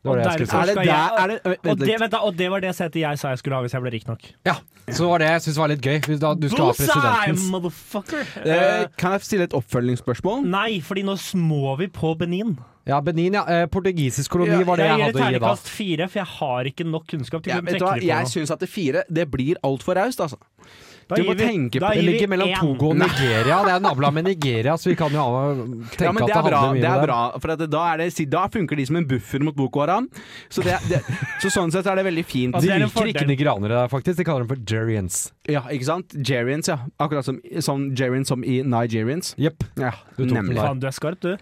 E: Det
B: Og
E: var det jeg
B: derfor
E: skulle si.
B: skal
C: det der- er det-
B: jeg-
C: vent
B: Og det-
C: litt.
B: vent da, og det var det setet jeg sa jeg skulle ha hvis jeg ble rik nok.
E: Ja, så var det jeg syntes var litt gøy. hvis Da, du skulle ha presidentens
B: motherfucker!
C: Eh, kan jeg stille et oppfølgingsspørsmål?
B: Nei, fordi nå små vi på Benin.
E: Ja, Benin, ja. Eh, Portugisisk koloni
C: Ja,
E: var det jeg,
B: jeg gir
E: hadde
B: et
E: å gi da.
B: terningkast fire, for jeg har ikke nok kunnskap til å
C: Ja,
B: kunne
C: vet du
B: trekke
C: hva?
B: det på
C: Jeg
B: nå.
C: syns at det fire det blir altfor raust, altså.
B: Da
C: du
B: gir
C: må
B: vi-
C: tenke på-
B: da
E: Det
B: gir vi
E: ligger mellom
B: én.
E: Togo og Nigeria. Det er naboland med Nigeria, så vi kan jo ah, tenke
C: Ja,
E: at
C: men det er
E: det
C: bra.
E: handler mye
C: Det er
E: om
C: bra for at det, da, er det, si- da funker de som en buffer mot Boko Haram. Så, det, det, så sånn sett er det veldig fint.
B: Altså, det
E: De
B: er en
E: liker ikke
B: fordel.
E: nigerianere der, faktisk. De kaller dem for jerians.
C: Ja, ikke sant? Jerians, ja. Akkurat som, som Jerians som i Nigerians.
E: Jepp.
C: Ja,
E: Du tok den
C: nemlig.
E: der.
B: Faen, du er skarp, du.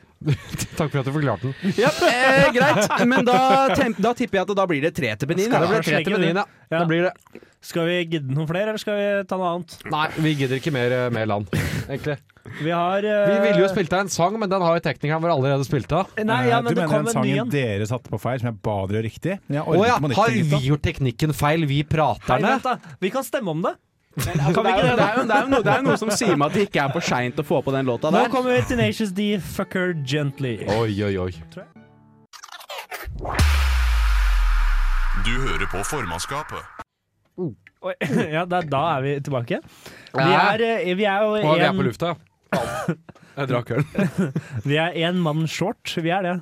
E: Takk for at du forklarte den.
C: Ja, eh, greit, men da, tem- da tipper jeg at da blir det tre til Benin.
E: Det
C: Da.
E: ble tre til
B: Benin,
E: Benin, ja.
B: Ja.
E: Da blir det.
B: Skal vi gidde noen flere, eller skal vi ta noe annet?
E: Nei, vi gidder ikke mer, eh, mer land, egentlig.
B: Vi har eh,
E: Vi ville jo spilt av en sang, men den har jo teknikeren vår allerede spilt av.
B: Nei, ja,
F: Eh,
B: men
F: du mener
B: det kom
F: den
B: en ny
F: sangen
B: en.
F: dere satte på feil, som jeg ba dere gjøre riktig? Men jeg
E: Å
F: orker
E: ja,
F: ikke på nytt,
E: har
F: gutta.
E: vi gjort teknikken feil, vi
B: Nei,
E: praterne?
B: vent da. Vi kan stemme om det.
C: Altså,
B: Kan vi
C: det, er
B: ikke
C: jo,
B: det,
C: det,
B: da?
C: er jo, det, er jo noe, det er jo noe som sier meg at det ikke er for seint å få på den låta
B: Nå
C: der.
B: kommer Tenacious D, fucker gently.
E: Oi, oi, oi.
A: Du hører på formannskapet.
B: Oi, <laughs> Ja, da, da er vi tilbake. Vi
E: Ja.
B: er, eh, vi er jo
E: Å, vi er
B: en-
E: på lufta, ja. <laughs> Jeg drakk øl.
B: Vi er én mann short, vi er det.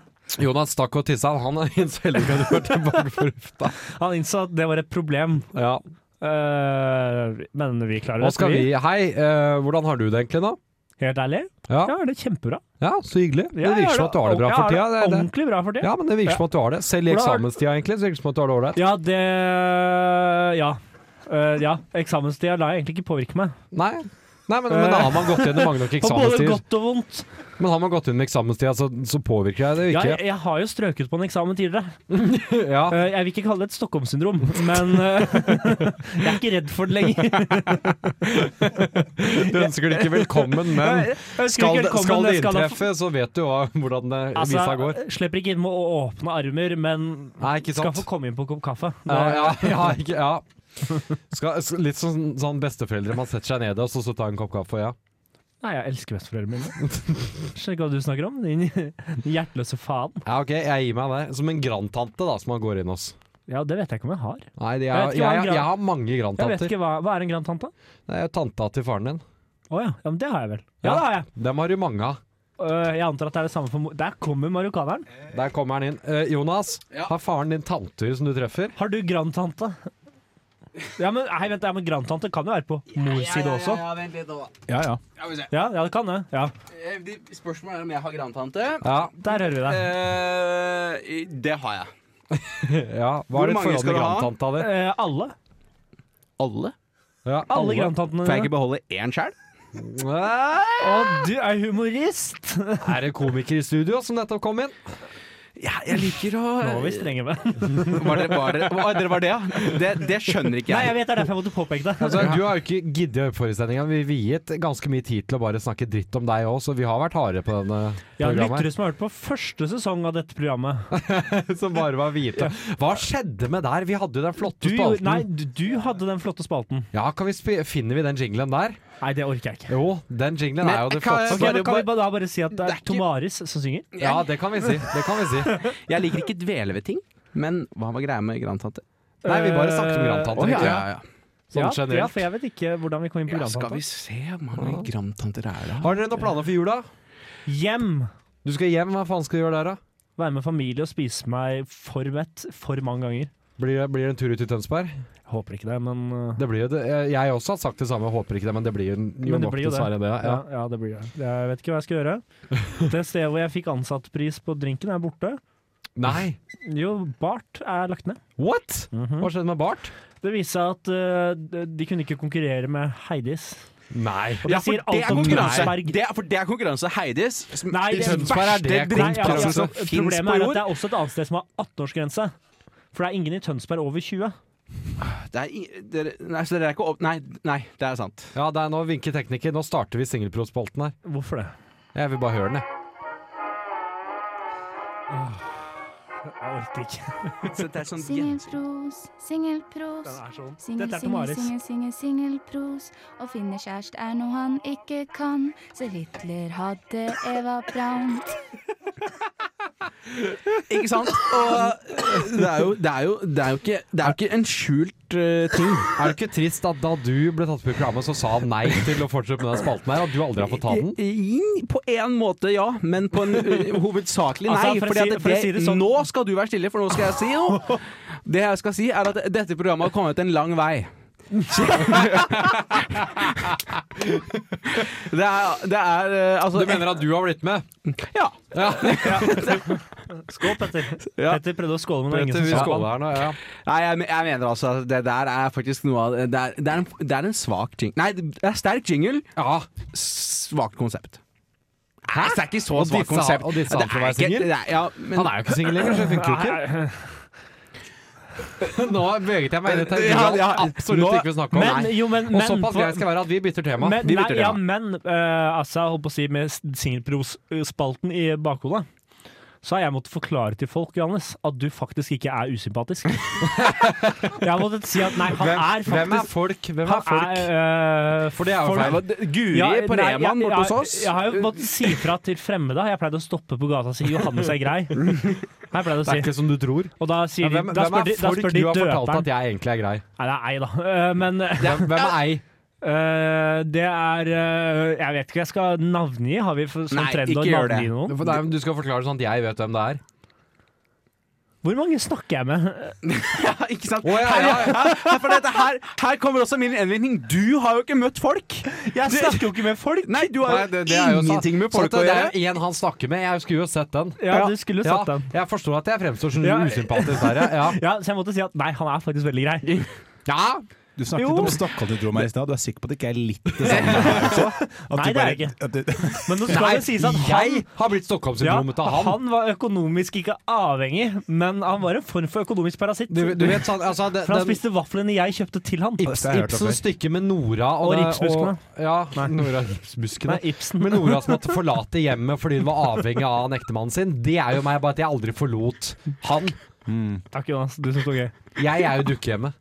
E: Jonas stakk og tissa. Han er en selvgod du var tilbake på lufta.
B: Han innså at det var et problem,
E: Ja.
B: Eh, men vi klarer
E: Nå
B: det.
E: skal vi Hei, eh, hvordan har du det egentlig nå?
B: Helt ærlig?
E: Ja,
B: Ja, det er kjempebra.
E: ja så hyggelig.
B: Ja,
E: Det virker som at du har det bra
B: ja,
E: for tida.
B: Jeg har det
E: Det, det.
B: ordentlig bra for tida.
E: Ja, men det virker som at du har det. Selv i
B: Hvordan har-
E: eksamenstida, egentlig, så virker det som at du har det ålreit.
B: Ja, det Ja. Eh, ja, eksamenstida lar jeg egentlig ikke påvirke meg.
E: Nei. Nei, men, men da har man gått gjennom mange
B: <laughs>
E: nok
B: På både
E: eksamenstider.
B: godt og vondt.
E: Men har man gått gjennom eksamenstida, så, så påvirker deg det
B: Ja, jeg,
E: ikke.
B: jeg har jo strøket på en eksamen tidligere.
E: Ja,
B: Eh, jeg vil ikke kalle det et Stockholm-syndrom, men eh, <laughs> jeg er ikke redd for det
C: <laughs>
B: lenger.
E: Du ønsker det ikke
B: <laughs>
E: velkommen, men
B: Jeg ønsker
E: skal,
B: ikke
E: det-
B: velkommen,
E: skal det
B: jeg ha-
E: inntreffe, så vet du hva, hvordan det
B: Altså,
E: visa går.
B: slipper ikke inn med å åpne armer, men
E: Nei, ikke
B: Skal
E: sant.
B: få komme inn på en kopp kaffe. Det-
E: Ja, ja, ja, ikke, ja. Skal, s- litt sånn, sånn besteforeldre. Man setter seg ned og så, så tar en kopp kaffe. Ja.
B: Nei, jeg elsker besteforeldrene mine. Skjønner ikke hva du snakker om, din <laughs> din hjerteløse faen.
E: ja, ok, jeg gir meg det. Som en grandtante da, som man går inn hos.
B: Ja, det vet jeg ikke om jeg har.
E: Nei, de er,
B: Jeg vet
E: jeg,
B: ikke hva en
E: jeg,
B: gran-
E: jeg har mange
B: Jeg vet
E: grandtanter.
B: ikke hva, hva er en grandtante?
E: Det er jo tanta til faren din.
B: Å ja. ja, men det har jeg vel. Ja,
E: Ja.
B: det har jeg.
E: Dem har du mange av.
B: Øh, jeg antar at det er det samme for mor... Der kommer marokkaneren.
E: Der kommer han inn. Eh, Jonas, har faren din tanter som du treffer?
B: Har du grandtante? Ja, men, nei, vent, ja, men grandtante kan jo være på mors side også.
C: Ja, vent litt da.
F: Ja, ja.
C: Ja, vi ser.
B: Ja, ja, det kan det. Ja.
C: Eh, de- Spørsmålet er om jeg har grandtante.
E: Ja.
B: Der hører vi deg.
C: Eh, det har jeg.
E: ja. Hva
C: Hvor
E: er ditt
C: mange
E: forhold
C: skal
E: til
C: du ha?
E: grandtanta di?
B: Eh, alle.
C: Alle?
E: Ja.
B: Alle grandtantene
C: Får jeg ikke
B: dine.
C: beholde én sjæl?
E: Nei,
B: Å, du er humorist!
E: Er det komiker i studio som nettopp kom inn?
C: Ja, jeg liker å
B: Nå var vi strenge med
C: Var dere var dere, var dere, var det, ja? Det, det skjønner ikke
B: Nei, jeg
C: jeg.
B: vet det er derfor jeg måtte påpeke det.
E: Altså, du har jo ikke giddet å høre på forestillingen. Vi viet ganske mye tid til å bare snakke dritt om deg òg, så vi har vært hardere på denne
B: Ja, lyttere
E: programmet.
B: som har hørt på første sesong av dette programmet.
E: <laughs> Som bare var hvite. Hva skjedde med der? Vi hadde jo den flotte
B: Du, gjorde-
E: spalten.
B: nei, du, du hadde den flotte spalten.
E: Ja, kan vi spi- finner vi den jinglen der?
B: Nei, det orker jeg ikke.
E: Jo, den jinglen
C: Men
E: er jo det
C: kan jeg
E: flotteste.
B: Ok, men Kan vi bare- da bare si at det
C: Det
B: er
C: er ikke-
B: Tomaris som synger?
E: Ja, det kan vi si. Det kan vi si.
C: Jeg liker ikke dvele ved ting. Men hva var greia med grandtante?
E: Nei, vi bare snakker om
B: Eh,
E: grandtante.
C: Å,
E: ikke?
C: ja.
E: Sånn
B: ja, ja,
E: generelt.
B: for jeg vet ikke hvordan vi kom inn på
C: Ja, skal vi
B: programmet.
C: se hvor mange grandtanter er det
E: Har dere noen planer for jula?
B: Hjem!
E: Du skal hjem, hva faen skal du gjøre der, da?
B: Være med familie og spise meg for mett for mange ganger.
E: Blir det, blir det en tur ut i Tønsberg?
B: Ja, Håper ikke det, men eh,
E: Det blir jo det. Jeg jeg også har sagt det samme, håper ikke det, men det blir jo, jo
B: Men det
E: nok
B: blir jo det.
E: dessverre det.
B: ja,
E: Ja.
B: ja, det blir det. Jeg vet ikke hva jeg skal gjøre. Det stedet hvor jeg fikk ansattpris på drinken, er borte.
E: Nei!
B: Jo, Bart er lagt ned.
E: What?! Hva skjedde med Bart?
B: Det viste seg at eh, de- de kunne ikke konkurrere med Heidis.
E: Nei.
B: Og det
C: Ja, for
B: sier
C: det
B: alt
C: er
B: om
C: konkurranse.
B: Tønsberg.
C: Det er, for det er konkurranse. Heidis. som-
B: Nei,
E: I
B: det-
E: Tønsberg er det
C: verste
B: Nei, ja,
E: konkurranse
C: drittplassen
B: ja,
C: som
B: ja.
C: finnes
B: Problemet
C: altså, på
B: er at
C: jord.
B: det er også et annet sted som har 18-årsgrense. For det er ingen i Tønsberg over 20.
C: Det er, i- dere, nei, så dere er ikke opp... Nei, nei, det er sant.
E: Ja, det er nå vinker tekniker. Nå starter vi singelprospalten her.
B: Hvorfor det?
E: Jeg vil bare høre den, jeg.
B: Jeg orker ikke.
C: Så det er sånn,
G: Singelpros, singelpros.
B: Den er sånn.
G: Singel,
B: Dette er til
G: singel,
B: Maris.
G: singel, singel, singelpros. Å finne kjæreste er noe han ikke kan, så Hitler hadde Eva Braun.
C: Ikke sant? Og eh, det er jo, det er jo, det er jo, ikke, det er jo ikke en skjult eh, ting.
E: Er det ikke trist at da du ble tatt på programmet, så sa han nei til å fortsette med den spalten her? At du aldri har fått ta den?
C: I- På en måte ja, men på en eh, hovedsakelig nei.
B: Altså, for å
C: fordi
B: si-
C: at
B: for å
C: det,
B: si det sånn-
C: Nå skal du være stille, for nå skal jeg si noe. Det jeg skal si, er at dette programmet har kommet en lang vei. det er, det er eh, altså eh,
E: Du mener at du har blitt med?
C: Ja.
E: Ja.
B: Skål, Petter.
C: Ja.
B: Petter prøvde å skåle, men det var
E: Petter,
B: ingen
E: vi
B: som
E: skåler
B: sa
E: her nå. Ja.
C: Nei, jeg, jeg mener altså at det der er faktisk noe av Det er, det er, en, det er en svak jingle. Nei, det er sterk jingle,
E: ja.
C: svakt konsept. Hæ? Det er ikke så
E: Og
C: svakt
E: disse-
C: konsept.
E: og disse
C: Det
E: han for å være
C: er ikke-
E: singel?
C: det er- Ja, men
E: Han er jo ikke singel lenger, så det funker jo ikke. <laughs> Nå beveget jeg meg inn i et
C: Ja,
E: tema
C: ja,
E: absolutt
C: nå-
E: ikke vil snakke om.
B: Men,
E: Nei.
B: jo, men,
E: Og
B: men,
E: såpass
B: på-
E: grei skal jeg være at vi bytter tema.
B: Men,
C: vi
B: nei,
C: bytter
B: ja,
C: tema.
B: men eh, altså, jeg holdt på å si med s- singelpros-spalten i bakhodet, så har jeg måttet forklare til folk Johannes, at du faktisk ikke er usympatisk. <laughs> jeg har måttet si at nei, han er faktisk
E: Hvem er folk? Hvem er
B: han
E: folk?
B: er, eh,
E: For det er jo
B: folk-
E: feil.
C: Guri
B: Ja,
C: på
B: nei,
C: Reman
B: jeg-
C: borte hos
B: jeg-
C: oss.
B: Jeg har jo måttet si fra til fremmede. Jeg pleide å stoppe på gata og si 'Johannes er
E: <laughs>
B: grei'. Jeg
E: Det
B: pleide å
E: er
B: si.
E: ikke som du tror.
B: Og da, sier
E: Ja,
B: de,
E: hvem,
B: da
E: hvem
B: spør
E: er
B: de, da
E: folk
B: spør
E: du
B: de
E: har fortalt
B: døperen.
E: at jeg egentlig er grei?
B: Nei, det er ei, da. Eh, Men eh,
E: Hvem, hvem er ei?
B: Eh, det er eh, Jeg vet ikke, jeg skal navngi. Har vi for- sånn
C: Nei,
B: trend å
C: ikke gjør
B: navngi
C: det.
B: noen?
E: Nei, men du skal forklare det sånn at jeg vet hvem det er.
B: Hvor mange snakker jeg
C: <laughs>
B: med?
C: Ja, <laughs> ikke sant?
E: Å, ja,
C: Her,
E: ja,
C: her, her, for dette her, her kommer også min innvending. Du har jo ikke møtt folk.
B: Jeg snakker jo ikke med folk!
C: Nei, du har
E: Nei,
C: jo
E: det- det er jo sant.
C: ingenting med folk
E: Så
C: å
E: det
C: gjøre.
E: er en han snakker med. Jeg skulle jo sett den.
B: <laughs> Ja, du skulle sett den.
E: Jeg forstår at jeg fremstår som
B: Ja.
E: usympatisk der, ja.
B: <laughs>
E: ja.
B: Ja, så jeg måtte si at nei, han er faktisk veldig
C: <laughs>
B: grei.
E: ja.
F: Du snakket
B: Jo.
F: om Stockholm-syndrom her i stad. Du er sikker på at det ikke er litt det
B: <laughs>
F: samme? her også? At
B: Nei,
F: du
B: det er det ikke.
F: at
B: <laughs>
F: du-
B: Men nå skal det sies at han
E: jeg har blitt
B: ja,
E: Stockholm-syndromet av han.
B: han var økonomisk ikke avhengig, men han var en form for økonomisk parasitt.
E: Du, du vet sånn altså, det,
B: For han
E: den-
B: spiste vaflene jeg kjøpte til han.
E: Ips,
F: Dette har jeg hørt om
E: Ibsens stykke med Nora
B: Og
E: det-
B: ripsbuskene.
E: og- Ja, Nora ripsbuskene.
B: Nei, Ibsen.
E: Men Nora som måtte forlate hjemmet fordi hun var avhengig av han ektemannen sin, det er jo meg, bare at jeg aldri forlot han.
B: Takk, Jonas. Du syns det var gøy.
E: Jeg er jo dukkehjemmet.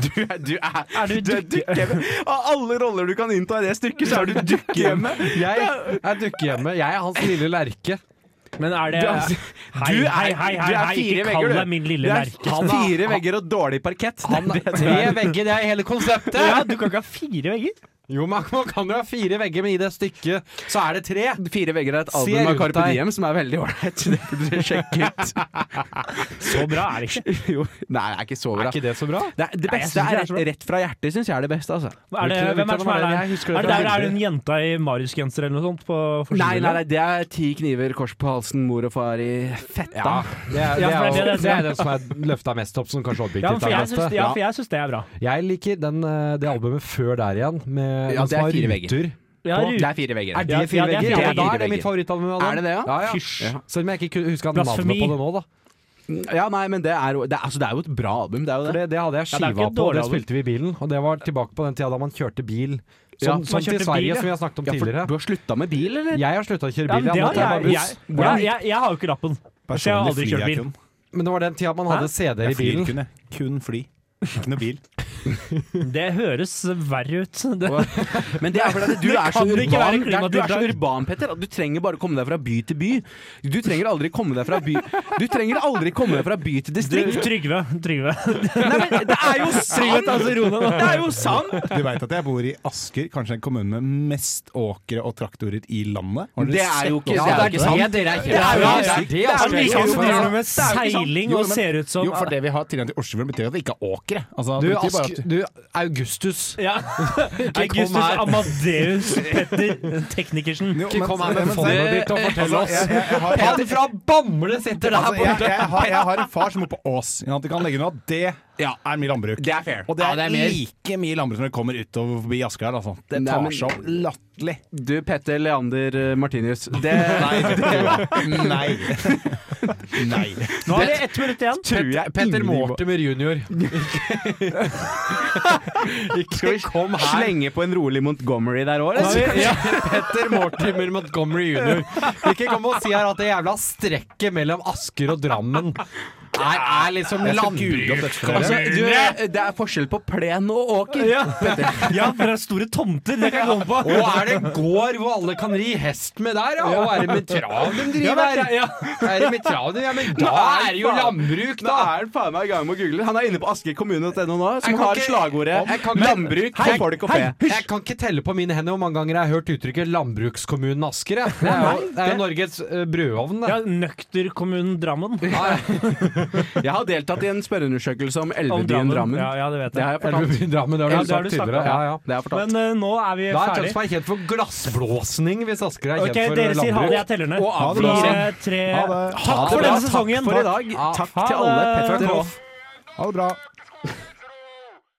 C: Du er, du er,
B: Er du
C: du er dukkehjemmet. Av alle roller du kan innta i det stykket, så er du dukkehjemmet.
E: Jeg er dukkehjemmet. Jeg er hans lille lerke.
B: Men er det
C: Du
B: Hei,
C: er- Du er-
B: hei, hei,
C: du er
B: hei,
C: fire
B: ikke
C: vegger,
B: kall
C: du.
B: meg min lille
C: Det er
B: lerke.
C: fire vegger og dårlig parkett.
E: Han
C: Det er det det
E: tre
C: er.
E: vegger, det er hele konseptet!
B: Ja, du kan ikke ha fire vegger.
E: Jo, man, man kan jo ha fire vegger, men i det stykket så er det tre.
C: Fire vegger er et
E: Se
C: album av
E: rundt
C: Carpe
E: deg.
C: Diem som er veldig ålreit. Det burde dere sjekke ut.
B: Så bra er det ikke.
C: Jo. <laughs> Nei, det er ikke så
E: Er
C: bra.
E: ikke det så bra?
C: Det, er, det
B: Nei, jeg
C: beste
B: synes ikke det
C: er
B: er så bra.
C: rett, rett fra hjertet, syns jeg er det beste. Altså.
B: Er det,
E: Hvilken-
B: hvem er
E: hvilken
B: det som
E: var
B: er
E: det?
B: der?
E: Jeg husker
B: Er
E: det
B: det der
E: fra
B: det er
E: bildet.
B: en jenta i Marius-genser eller noe sånt? På
C: Nei,
B: forsiden?
C: nei, nei, det er ti kniver, kors på halsen, mor og far i fetta.
E: Ja, det er, det
B: Ja, for
E: er,
B: det er
E: jo-
B: det-
E: det er den som er løfta mest opp, som kanskje
B: Ja, men
E: objektivt
B: for
E: er
B: jeg syns,
E: beste.
B: ja, for jeg syns det er bra.
E: Jeg liker den, eh, det albumet før der igjen, med den
C: Ja, det
E: som
C: er
E: har
C: fire
E: ruter.
C: vegger.
B: Ja,
E: På-
B: Ru-
C: Det er fire vegger.
E: Er
B: Ja,
E: det fire
B: ja, det
E: vegger?
B: er fire
E: Ja, da
C: vegger.
E: er det mitt favorittalbum. av
C: Er det det, ja?
E: ja? ja.
B: Hysj.
E: Ja. Selv om jeg ikke ku- husker navnet
B: Blasfemi.
E: på det nå, da.
C: Ja, nei, men det er, jo- det, er- altså, det er jo et bra album, det er jo
E: For
C: det.
E: det, det hadde jeg
B: Ja, det er
E: skiva
B: ikke et
E: på, og
B: dårlig
E: det
B: album.
E: spilte vi i bilen. Og det var tilbake på den tida da man kjørte bil. Som,
B: Ja, man
E: som til
B: kjørte
E: Sverige,
B: bil, ja.
E: som vi har snakket om
C: Ja, for
E: tidligere.
C: du har slutta med bil, eller?
E: Jeg har slutta å kjøre
B: ja,
E: bil.
B: men det
E: jeg,
B: har
E: måtte
B: jeg,
E: bare
B: jeg,
E: buss.
B: ja, jeg, jeg har jo ikke lappen. Så jeg har
F: Personlig
B: aldri
F: flyr
B: kjørt
F: jeg
B: bil.
F: kun.
E: Men det var den tida man
B: Hæ?
E: hadde CD-er
F: Jeg
E: i
F: flyr
E: bilen.
F: kun, jeg. Kun fly. Ikke noe bil.
B: Det høres verre ut. <laughs> Det,
C: Men det er fordi at du
B: Det
C: er så
B: kan ikke være
C: urban,
B: klimatiltak.
C: du er så urban Petter, at du trenger bare komme deg fra by til by. Du trenger aldri komme deg fra by Du trenger aldri komme deg fra by til distrikt.
B: Trygve. Trygve.
C: Nei, men det er
B: <laughs>
C: jo
B: Trygve
C: sant!
B: ta så rolig nå.
C: Det er jo sant!
F: Du veit at jeg bor i Asker, kanskje en kommune med mest åkre og traktorer i landet? Har dere
C: Det er jo
F: sett
C: ikke
F: hvordan
C: det er jo ikke sant.
E: dere er
C: Det er jo ikke
E: kjempe-
C: sant.
E: Det er jo
B: Han liker
E: ikke
B: jo som
E: sant.
F: Det er
B: driver med
F: jo ikke sant.
B: seiling
F: Jo,
B: og
F: men-
B: ser ut som
F: Jo, for det vi har tilgang til Oslofjorden, betyr at det ikke er åkre. Altså,
E: Du,
F: det betyr bare
E: Ask,
F: at-
E: du, Augustus.
B: ja. Augustus
E: her.
B: Amadeus Petter Teknikersen.
F: Jo,
E: Ikke
F: men-
E: kom her med
F: men-
E: fondet
F: men-
E: ditt og fortell
F: altså,
E: oss.
F: jeg- jeg- jeg har-
E: Han fra Bamble sitter der
F: Altså, jeg,
E: borte!
F: jeg, har, jeg har en far som bor på Ås. Ja, at de kan legge noe, det
C: Ja.
F: er mye landbruk.
C: Det er fair.
F: Og det er,
E: Ja, det er mer.
F: like mye landbruk når det kommer utover forbi Asker her. Altså. Det
C: Nei,
F: tar
C: men-
F: seg opp latterlig.
C: Du, Petter Leander eh, Martinius. Det, <laughs>
F: Nei. Nei.
B: Nå har vi ett minutt igjen.
C: tror jeg
E: Petter
C: ingen-
E: Mortimer jr.
C: Skal vi slenge på en rolig Montgomery der òg, eller?
E: Ja, <laughs> Petter Mortimer Montgomery jr. Ikke kom og si her at det jævla strekket mellom Asker og Drammen er, er liksom landbruk.
C: Altså, du, det er forskjell på plen og åker.
B: Ja. ja, for det er store tomter. Det kan jeg komme på.
E: Altså, Og er det gård hvor alle kan ri hest med der, ja? Og er det med trav de driver her? Er det med trav de Ja, men da
C: Nei,
E: er det jo
C: faen.
E: landbruk,
C: Da
E: da!
C: er han faen meg i gang med å google. Han er inne på askerkommune.no nå, som
E: kan
C: har
E: ikke-
C: slagordet
E: Jeg kan ikke-
C: landbruk
E: Hei,
C: for folk og
E: hei,
C: fe.
E: hysj! Jeg kan ikke telle på mine hender hvor mange ganger jeg har hørt uttrykket 'landbrukskommunen Asker'. Jeg. Det er jo, det er jo Norges eh, brødovn.
B: Ja,
E: Det.
B: Nøkterkommunen Drammen.
C: Jeg har deltatt i en spørreundersøkelse om
B: Om
C: elvebyen
B: Drammen.
C: Drammen.
B: Ja, ja, det vet
C: Det
B: jeg.
C: har jeg fortalt.
E: Elveby- Drammen, det har
B: Ja,
E: du
B: det har
E: sagt
B: du snakket
E: tidligere.
B: om.
E: Ja, ja.
C: Det har jeg fortalt.
B: Men eh, nå er vi
E: Da er
B: ferdig.
E: Tønsberg kjent for glassblåsning, hvis Asker er kjent
B: Ok,
E: for
B: Dere sier ha det, jeg
E: landbruk.
B: teller ned.
C: Og ha det bra.
B: Fire, tre
F: Ha det.
B: Takk for
C: bra.
B: denne sesongen.
C: Takk for i dag.
E: Ja,
C: Takk
B: ha
C: til alle
B: det.
C: Petter
B: Fuck
C: og
B: off.
F: Ha det bra.